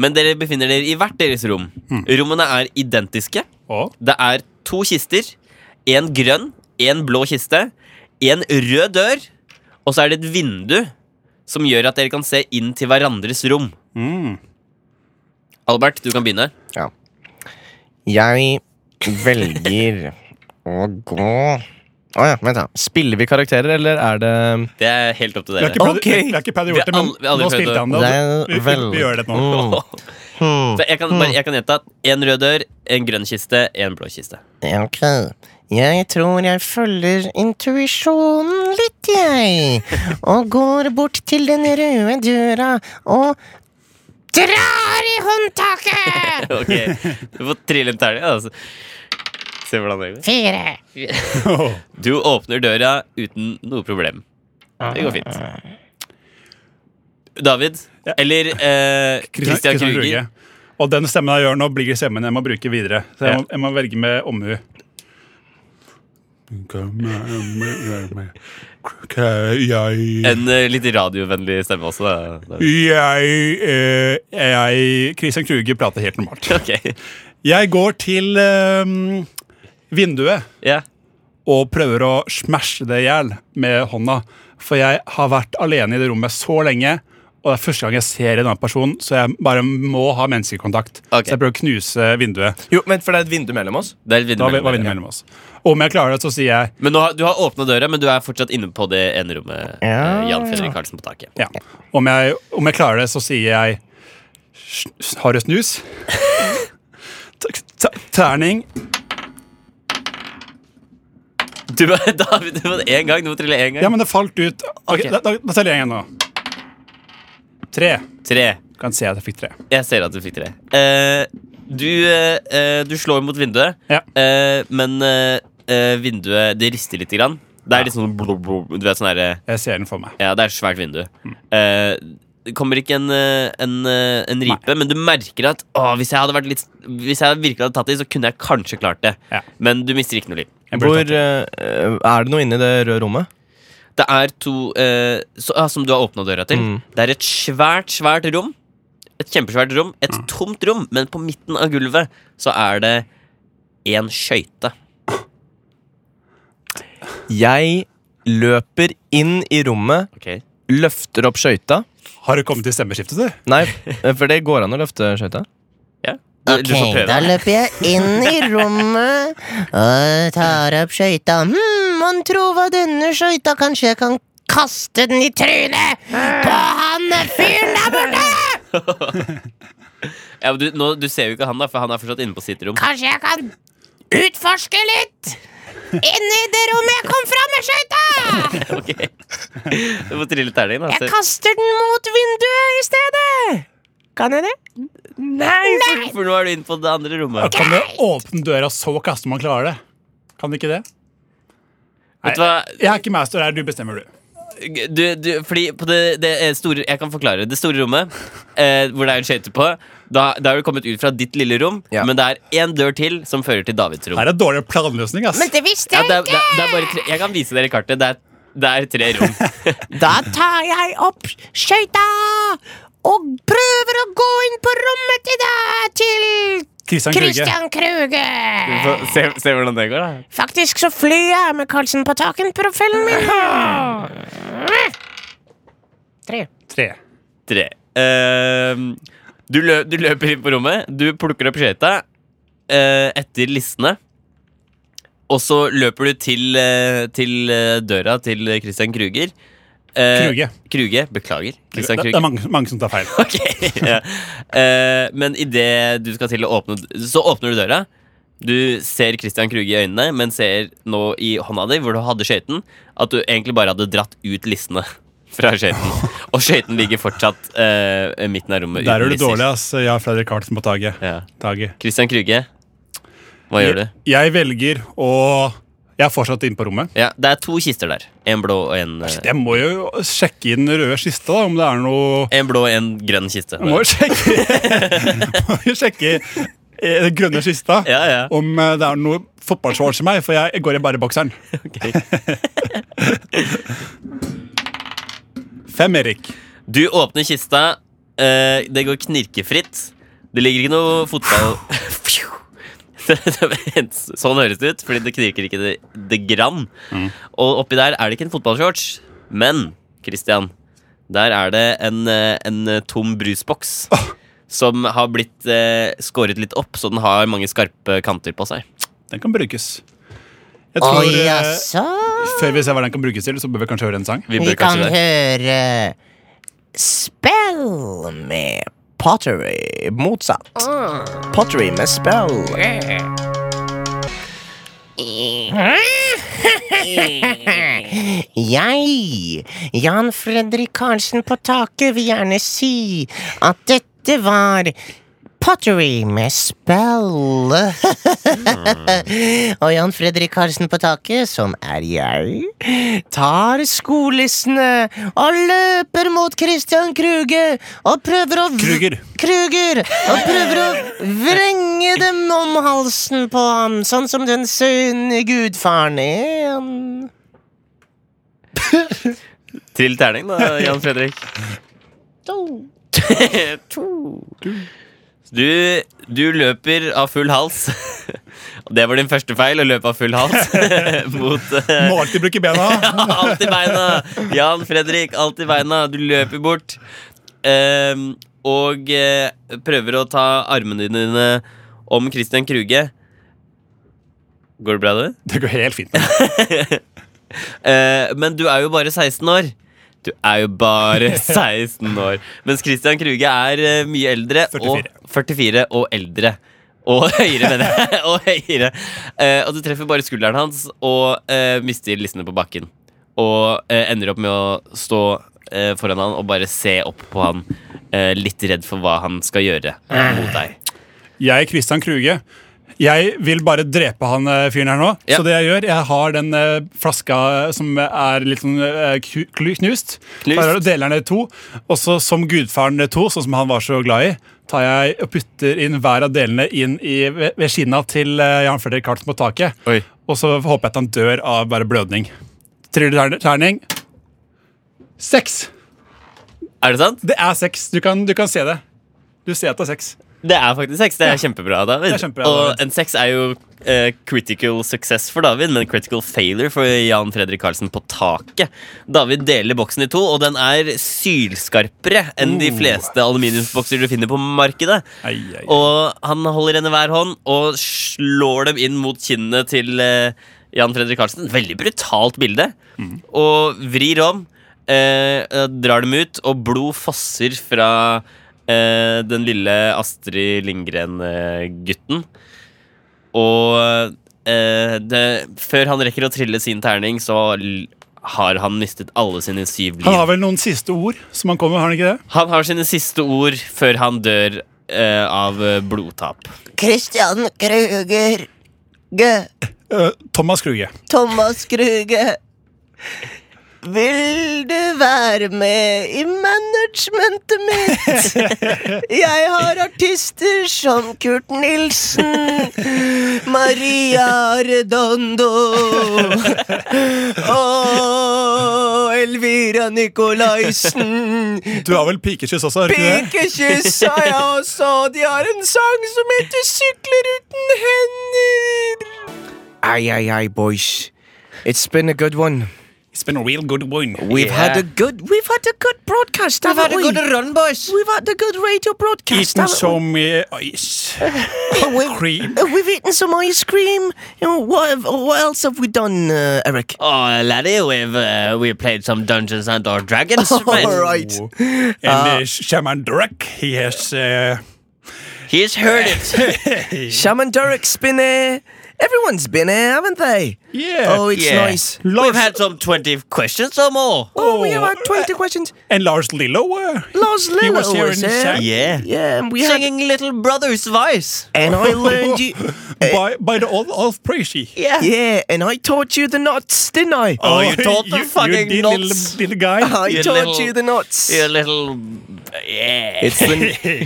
D: Men dere befinner dere i hvert deres rom. Rommene er identiske.
E: Og
D: Det er to kister. En grønn, en blå kiste, en rød dør, og så er det et vindu som gjør at dere kan se inn til hverandres rom. Albert, du kan begynne.
B: Jeg velger å gå Å ja, vent, da. Spiller vi karakterer, eller er det
D: Det er helt opp til
E: vi har
D: dere.
E: ikke prøvd-
B: Ok.
E: vi har ikke prøvd å
D: Vi
E: gjøre det,
D: har
E: men
D: aldri- vi har aldri
E: nå
D: prøvd
E: spilte
D: å-
E: han det. og Vi, vi, vi gjør det nå.
B: Mm.
D: Så jeg kan bare jeg kan gjette at en rød dør, en grønn kiste, en blå kiste.
B: Ja, Ok. Jeg tror jeg følger intuisjonen litt, jeg. Og går bort til den røde døra og drar i håndtaket!
D: Ok, du får trille en terning. Altså. Se hvordan det går.
B: Fire.
D: Du åpner døra uten noe problem. Det går fint. David, eller eh, Christian Kruger.
E: Og den stemmen jeg gjør nå, blir stemmen jeg må bruke videre. Så jeg må, jeg må velge med omhu. Jeg,
D: En eh, litt radiovennlig stemme også. da, David.
E: jeg, eh, jeg Christian Kruge prater helt normalt.
D: Ok,
E: Jeg går til eh, vinduet
D: ja.
E: og prøver å smashe det i hjel med hånda. For jeg har vært alene i det rommet så lenge, og det er første gang jeg ser en annen person, så jeg bare må ha menneskekontakt. Så
D: Ok.
E: jeg prøver å knuse vinduet.
B: Jo, vent, for det er et vindu mellom oss.
D: Det er litt
E: Da
D: vindu
E: var var
D: mellom
E: vinduet
D: dere.
E: mellom oss. Og om jeg klarer det, så sier jeg
D: Men nå har, du har åpna døra, men du er fortsatt inne på det ene rommet. eh, Jan Fredrik Karlsen på taket.
E: ja. Om jeg, om jeg klarer det, så sier jeg "Sj- Har du snus? T- t- Terning.
D: Du, må- David, du må en gang, du må trille én gang.
E: Ja, men det falt ut. Ok,
D: Ok.
E: Da, da, da teller jeg igjen nå. Tre.
D: Tre.
E: Kan se at jeg fikk tre.
D: Jeg ser at du fikk tre. Eh, du, eh, eh, du slår mot vinduet,
E: Ja.
D: eh, men eh, eh, vinduet det rister litt. Grann. Det er litt sånn blub, blub, Du vet sånn herre
E: Jeg ser den for meg.
D: Ja, det er et svært vindu.
E: Mm.
D: Eh, det kommer ikke en, eh, en, eh, en ripe, men du merker at å, hvis, jeg hadde vært litt, hvis jeg virkelig hadde tatt i, så kunne jeg kanskje klart det.
E: Ja.
D: Men du mister ikke noe liv.
E: Jeg burde
B: Hvor eh,
E: tatt det.
B: Er det noe inni det røde rommet?
D: Det Mm. er to eh, så, ah, Som du har åpna døra til. Det er et svært, svært rom. et kjempesvært rom. Et tomt rom, men på midten av gulvet så er det én skøyte.
B: Jeg løper inn i rommet,
D: Ok.
B: løfter opp skøyta.
E: Har du kommet til stemmeskiftet, du?
B: Nei, eh, for det går an å løfte skøyta.
D: Ja. Du- du får prøve.
J: løper jeg inn i rommet og tar opp skøyta. Hmm, mon tro hva denne skøyta Kanskje jeg kan kaste den i trynet på han fyren der borte!
D: Ja, men du, nå, du ser jo ikke han, da, for han er fortsatt inne på sitt rom.
J: Kanskje jeg kan utforske litt inni det rommet jeg kom fra med skøyta!
D: Ok Du får trille terningen. da,
J: Jeg
D: så-
J: kaster den mot vinduet i stedet. Kan jeg det? Nei,
D: For- For nå er du inne på det andre rommet.
E: Kan du åpne døra, så kaste man klarer det? Kan du ikke det?
D: Vet du hva?
E: Jeg er ikke master her, du bestemmer, du.
D: Du, du, fordi på det, det er store Jeg kan forklare. Det store rommet eh, hvor det er en skøyte på, da, da er du kommet ut fra ditt lille rom,
B: Ja.
D: men det er én dør til som fører til Davids rom.
E: Her er dårlig planløsning, ass.
J: Men det visste
D: Ja,
J: jeg
D: det er, det,
J: ikke!
D: er- det er bare tre, jeg kan vise dere kartet. Det er, det er tre rom.
J: Da tar jeg opp skøyta og prøver å gå inn på rommet til deg, til
E: Christian Kruge.
J: Christian Kruge.
D: se, se hvordan det går, da.
J: Faktisk så flyr jeg med Karlsen på taken-profillen min. Tre.
E: Tre.
D: Tre. Ehm, du, lø, du løper inn på rommet, du plukker opp skøyta eh, etter listene. Og så løper du til, eh, til eh, døra til Christian Kruger. Eh,
E: Kruge.
D: Kruge, Beklager.
E: Det,
D: Christian
E: det
D: Kruger.
E: er mange, mange som tar feil.
D: Ok, ja. Eh, Men idet du skal til å åpne Så åpner du døra. Du ser Christian Kruge i øynene, men ser nå i hånda di, hvor du hadde skøyten, at du egentlig bare hadde dratt ut listene fra skøyten. Og skøyten ligger fortsatt eh, midten av rommet.
E: Der
D: uten
E: er du
D: lister.
E: dårlig, ass. Jeg har Fredrik Carlsen på taket.
D: Ja.
E: taket.
D: Christian Kruge, hva gjør du?
E: Jeg velger å Jeg er fortsatt inne på rommet.
D: Ja, Det er to kister der. En blå og en, eh,
E: Jeg må jo sjekke i den røde kista da, om det er noe
D: eh, en, blå og en grønn kiste.
E: Jeg må jo sjekke, må jo sjekke eh, den grønne kista
D: Ja, ja.
E: om eh, det er noe fotballshorts i meg, for jeg går i bare bokseren. Fem, Erik.
D: Du åpner kista, eh, det går knirkefritt. Det ligger ikke noe fotball Fju! Det- det- Sånn høres det ut, fordi det knirker ikke det, det grann. Og oppi der er det ikke en fotballshorts, men Christian, der er det en, eh, en tom brusboks. Som har blitt eh, skåret litt opp, så den har mange skarpe kanter på seg.
E: Den kan brukes. Jeg
J: Å
E: tror, eh,
J: jaså?
E: Før vi ser hva den kan brukes til, så bør vi kanskje høre en sang.
D: Vi
J: Vi
D: bør
J: kan
D: kanskje det.
J: høre Spell med
F: Pottery motsatt. Pottery med spell.
J: Eh. Jeg, Jan Fredrik Karlsen på taket, vil gjerne si at dette var Pottery med spell. Og Jan Fredrik Karlsen på taket, som er jeg, tar skolissene og løper mot Christian Kruge og prøver å v-
E: Kruger.
J: Kruger! Og prøver å vrenge dem om halsen på ham, sånn som den sunne gudfaren er. han.
D: Trill terning, da, Jan Fredrik. Du, du løper av full hals. Og Det var din første feil, å løpe av full hals mot eh,
E: Må alltid bruke bena.
D: Alt i beina! Jan Fredrik, alt i beina. Du løper bort. ehm, og eh, prøver å ta armene dine om Christian Kruge. Går det bra, du?
E: Det går helt fint.
D: Eh, men du er jo bare 16 år. Du er jo bare 16 år. Mens Christian Kruge er eh, mye eldre.
E: 44.
D: Og 44 og eldre. Og høyere, mener jeg. og høyere. Eh, og du treffer bare skulderen hans og eh, mister lissene på bakken. Og eh, ender opp med å stå eh, foran han og bare se opp på han. eh, litt redd for hva han skal gjøre mot deg.
E: Jeg, Christian Kruge, jeg vil bare drepe han eh, fyren her nå.
D: Ja.
E: Så det jeg gjør, jeg har den eh, flaska som er litt sånn eh, knu- klu- knust.
D: Knust.
E: Tar jeg og deler den i to. Og så som gudfaren det to, sånn som han var så glad i, tar jeg og putter inn hver av delene inn i, ved, ved kinna til eh, Jan Fredrik Karlsen på taket.
D: Oi.
E: Og så håper jeg at han dør av bare blødning. Triller terning. Seks!
D: Er det sant?
E: Det er seks. Du kan, du kan se det. Du ser at det er sex.
D: Det er faktisk sex. Det er kjempebra, David.
E: Det er kjempebra,
D: Og
E: David.
D: en sex er jo eh, critical success for David, men critical failure for Jan Fredrik Karlsen på taket. David deler boksen i to, og den er sylskarpere enn de fleste aluminiumsbokser du finner på markedet.
E: Oh. Ai, ai, ai.
D: Og han holder henne i hver hånd og slår dem inn mot kinnet til eh, Jan Fredrik Karlsen. Veldig brutalt bilde.
E: Mm.
D: Og vrir om, eh, eh, drar dem ut, og blod fosser fra eh, den lille Astrid Lindgren-gutten. Og eh, det, før han rekker å trille sin terning, så l- har han mistet alle sine syv liv.
E: Han har vel noen siste ord som han kommer med, har han ikke det?
D: Han har sine siste ord før han dør eh, av eh, blodtap.
J: Christian Kruger. Gø.
E: Eh, Thomas Kruge.
J: Thomas Kruge. Vil du være med i managementet mitt? Jeg har artister som Kurt Nilsen, Maria Redondo og Elvira
B: Mm,
J: Nicolaisen.
E: Du har vel pikekyss også? har du ikke det?
J: Pikekyss har jeg også. De har en sang som heter 'Sykler uten hender'.
B: Aye, aye, aye, boys. It's been a good one.
E: It's been a real good one.
B: We've had a good we've had a good broadcast, haven't we?
J: run, boys.
B: We've had a good radio broadcast.
E: Eaten
B: haven't
E: so mye ice
D: Oh,
E: cream.
J: Uh, We've eaten some ice cream. You know, what, have, what else have we done, uh, Eric?
D: Oh, laddie, we've uh, we played some Dungeons and or Dragons.
J: All
D: man.
J: right.
D: Ah.
E: And uh, Shaman Drek, he has uh,
D: He's heard it.
B: Shaman Derek's been here. Everyone's been here, haven't they?
E: Yeah.
B: Oh, it's
D: Yeah.
B: nice.
D: We've had some twenty questions or more.
B: Oh, we have had 20 questions.
E: And Lars Lillo. Uh,
B: Lars
E: he
B: Lillo
E: was here in
B: here.
E: Sa-
D: Yeah,
B: eh? Yeah, and we had,
D: singing Little Brother's Vice.
B: and I learned you.
D: Eh.
E: by, by the old Alf Preachy.
D: Yeah.
B: Yeah, and I taught you the knots, didn't I?
D: Oh, you taught the fucking Oh,
E: you did,
D: knots.
E: Little, little guy.
B: I
D: you
B: taught
D: little-
B: you the knots.
D: You little, yeah.
B: It's the,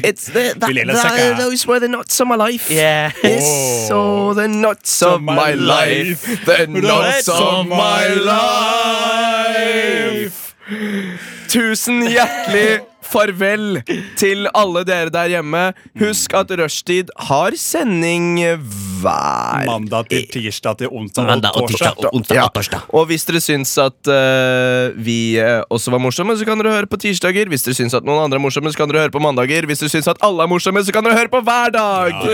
B: it's the, that,
E: Villela
B: that-
E: Saka.
B: those were the knots of my life.
D: yeah.
B: Yes, so the knots of
E: my
B: my
E: life.
B: life. The
E: knots
B: knots
E: of
B: of my
E: my
B: life. Tusen hjertelig farvel til alle dere der hjemme. Husk at Rushtid har sending hver
E: Mandag til tirsdag til onsdag og
D: Mandag og
E: torsdag.
D: tirsdag og onsdag
B: Ja.
D: og torsdag.
B: Og hvis dere syns at eh, vi eh, også var morsomme, så kan dere høre på tirsdager. Hvis dere syns at noen andre er morsomme, så kan dere høre på mandager. Hvis dere syns at alle er morsomme, så kan dere høre på hver dag!
E: Og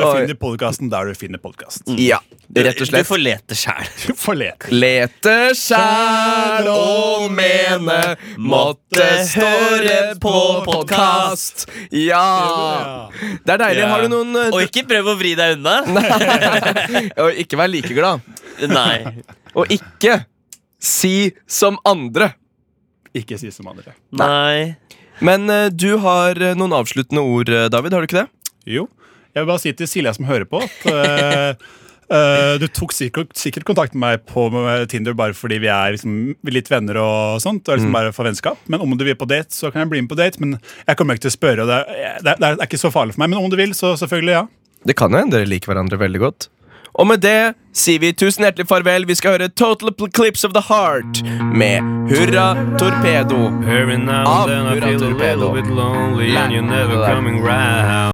E: du
B: Oi.
E: finner podkasten der du finner podkast.
D: Mm.
B: Ja, rett og
D: Du
B: slett.
D: får lete sjæl.
E: Du får lete.
B: Lete sjæl og mene måtte høre på podkast. Ja! Det er deilig. Har du noen eh,
D: Og ikke prøv å vri deg unna.
B: Og ikke vær like glad.
D: Nei.
B: Og ikke si som andre.
E: Ikke si som andre.
D: Nei.
B: Men eh, du har eh, noen avsluttende ord, eh, David. Har du ikke det?
E: Jo. Jeg vil bare si til Silja som hører på, at eh, eh, du tok sikkert, sikkert kontakt med meg på med Tinder bare fordi vi er liksom litt venner og sånt. Og liksom bare for vennskap Men om du vil på date, så kan jeg bli med på date. Men jeg kommer ikke til å spørre. Og det, er, det, er, det er ikke så farlig for meg. Men om du vil, så selvfølgelig, ja.
B: Det kan jo hende dere liker hverandre veldig godt. Og med det sier vi tusen hjertelig farvel. Vi skal høre Total Clips of the Heart med Hurra Torpedo. Av Hurra Torpedo.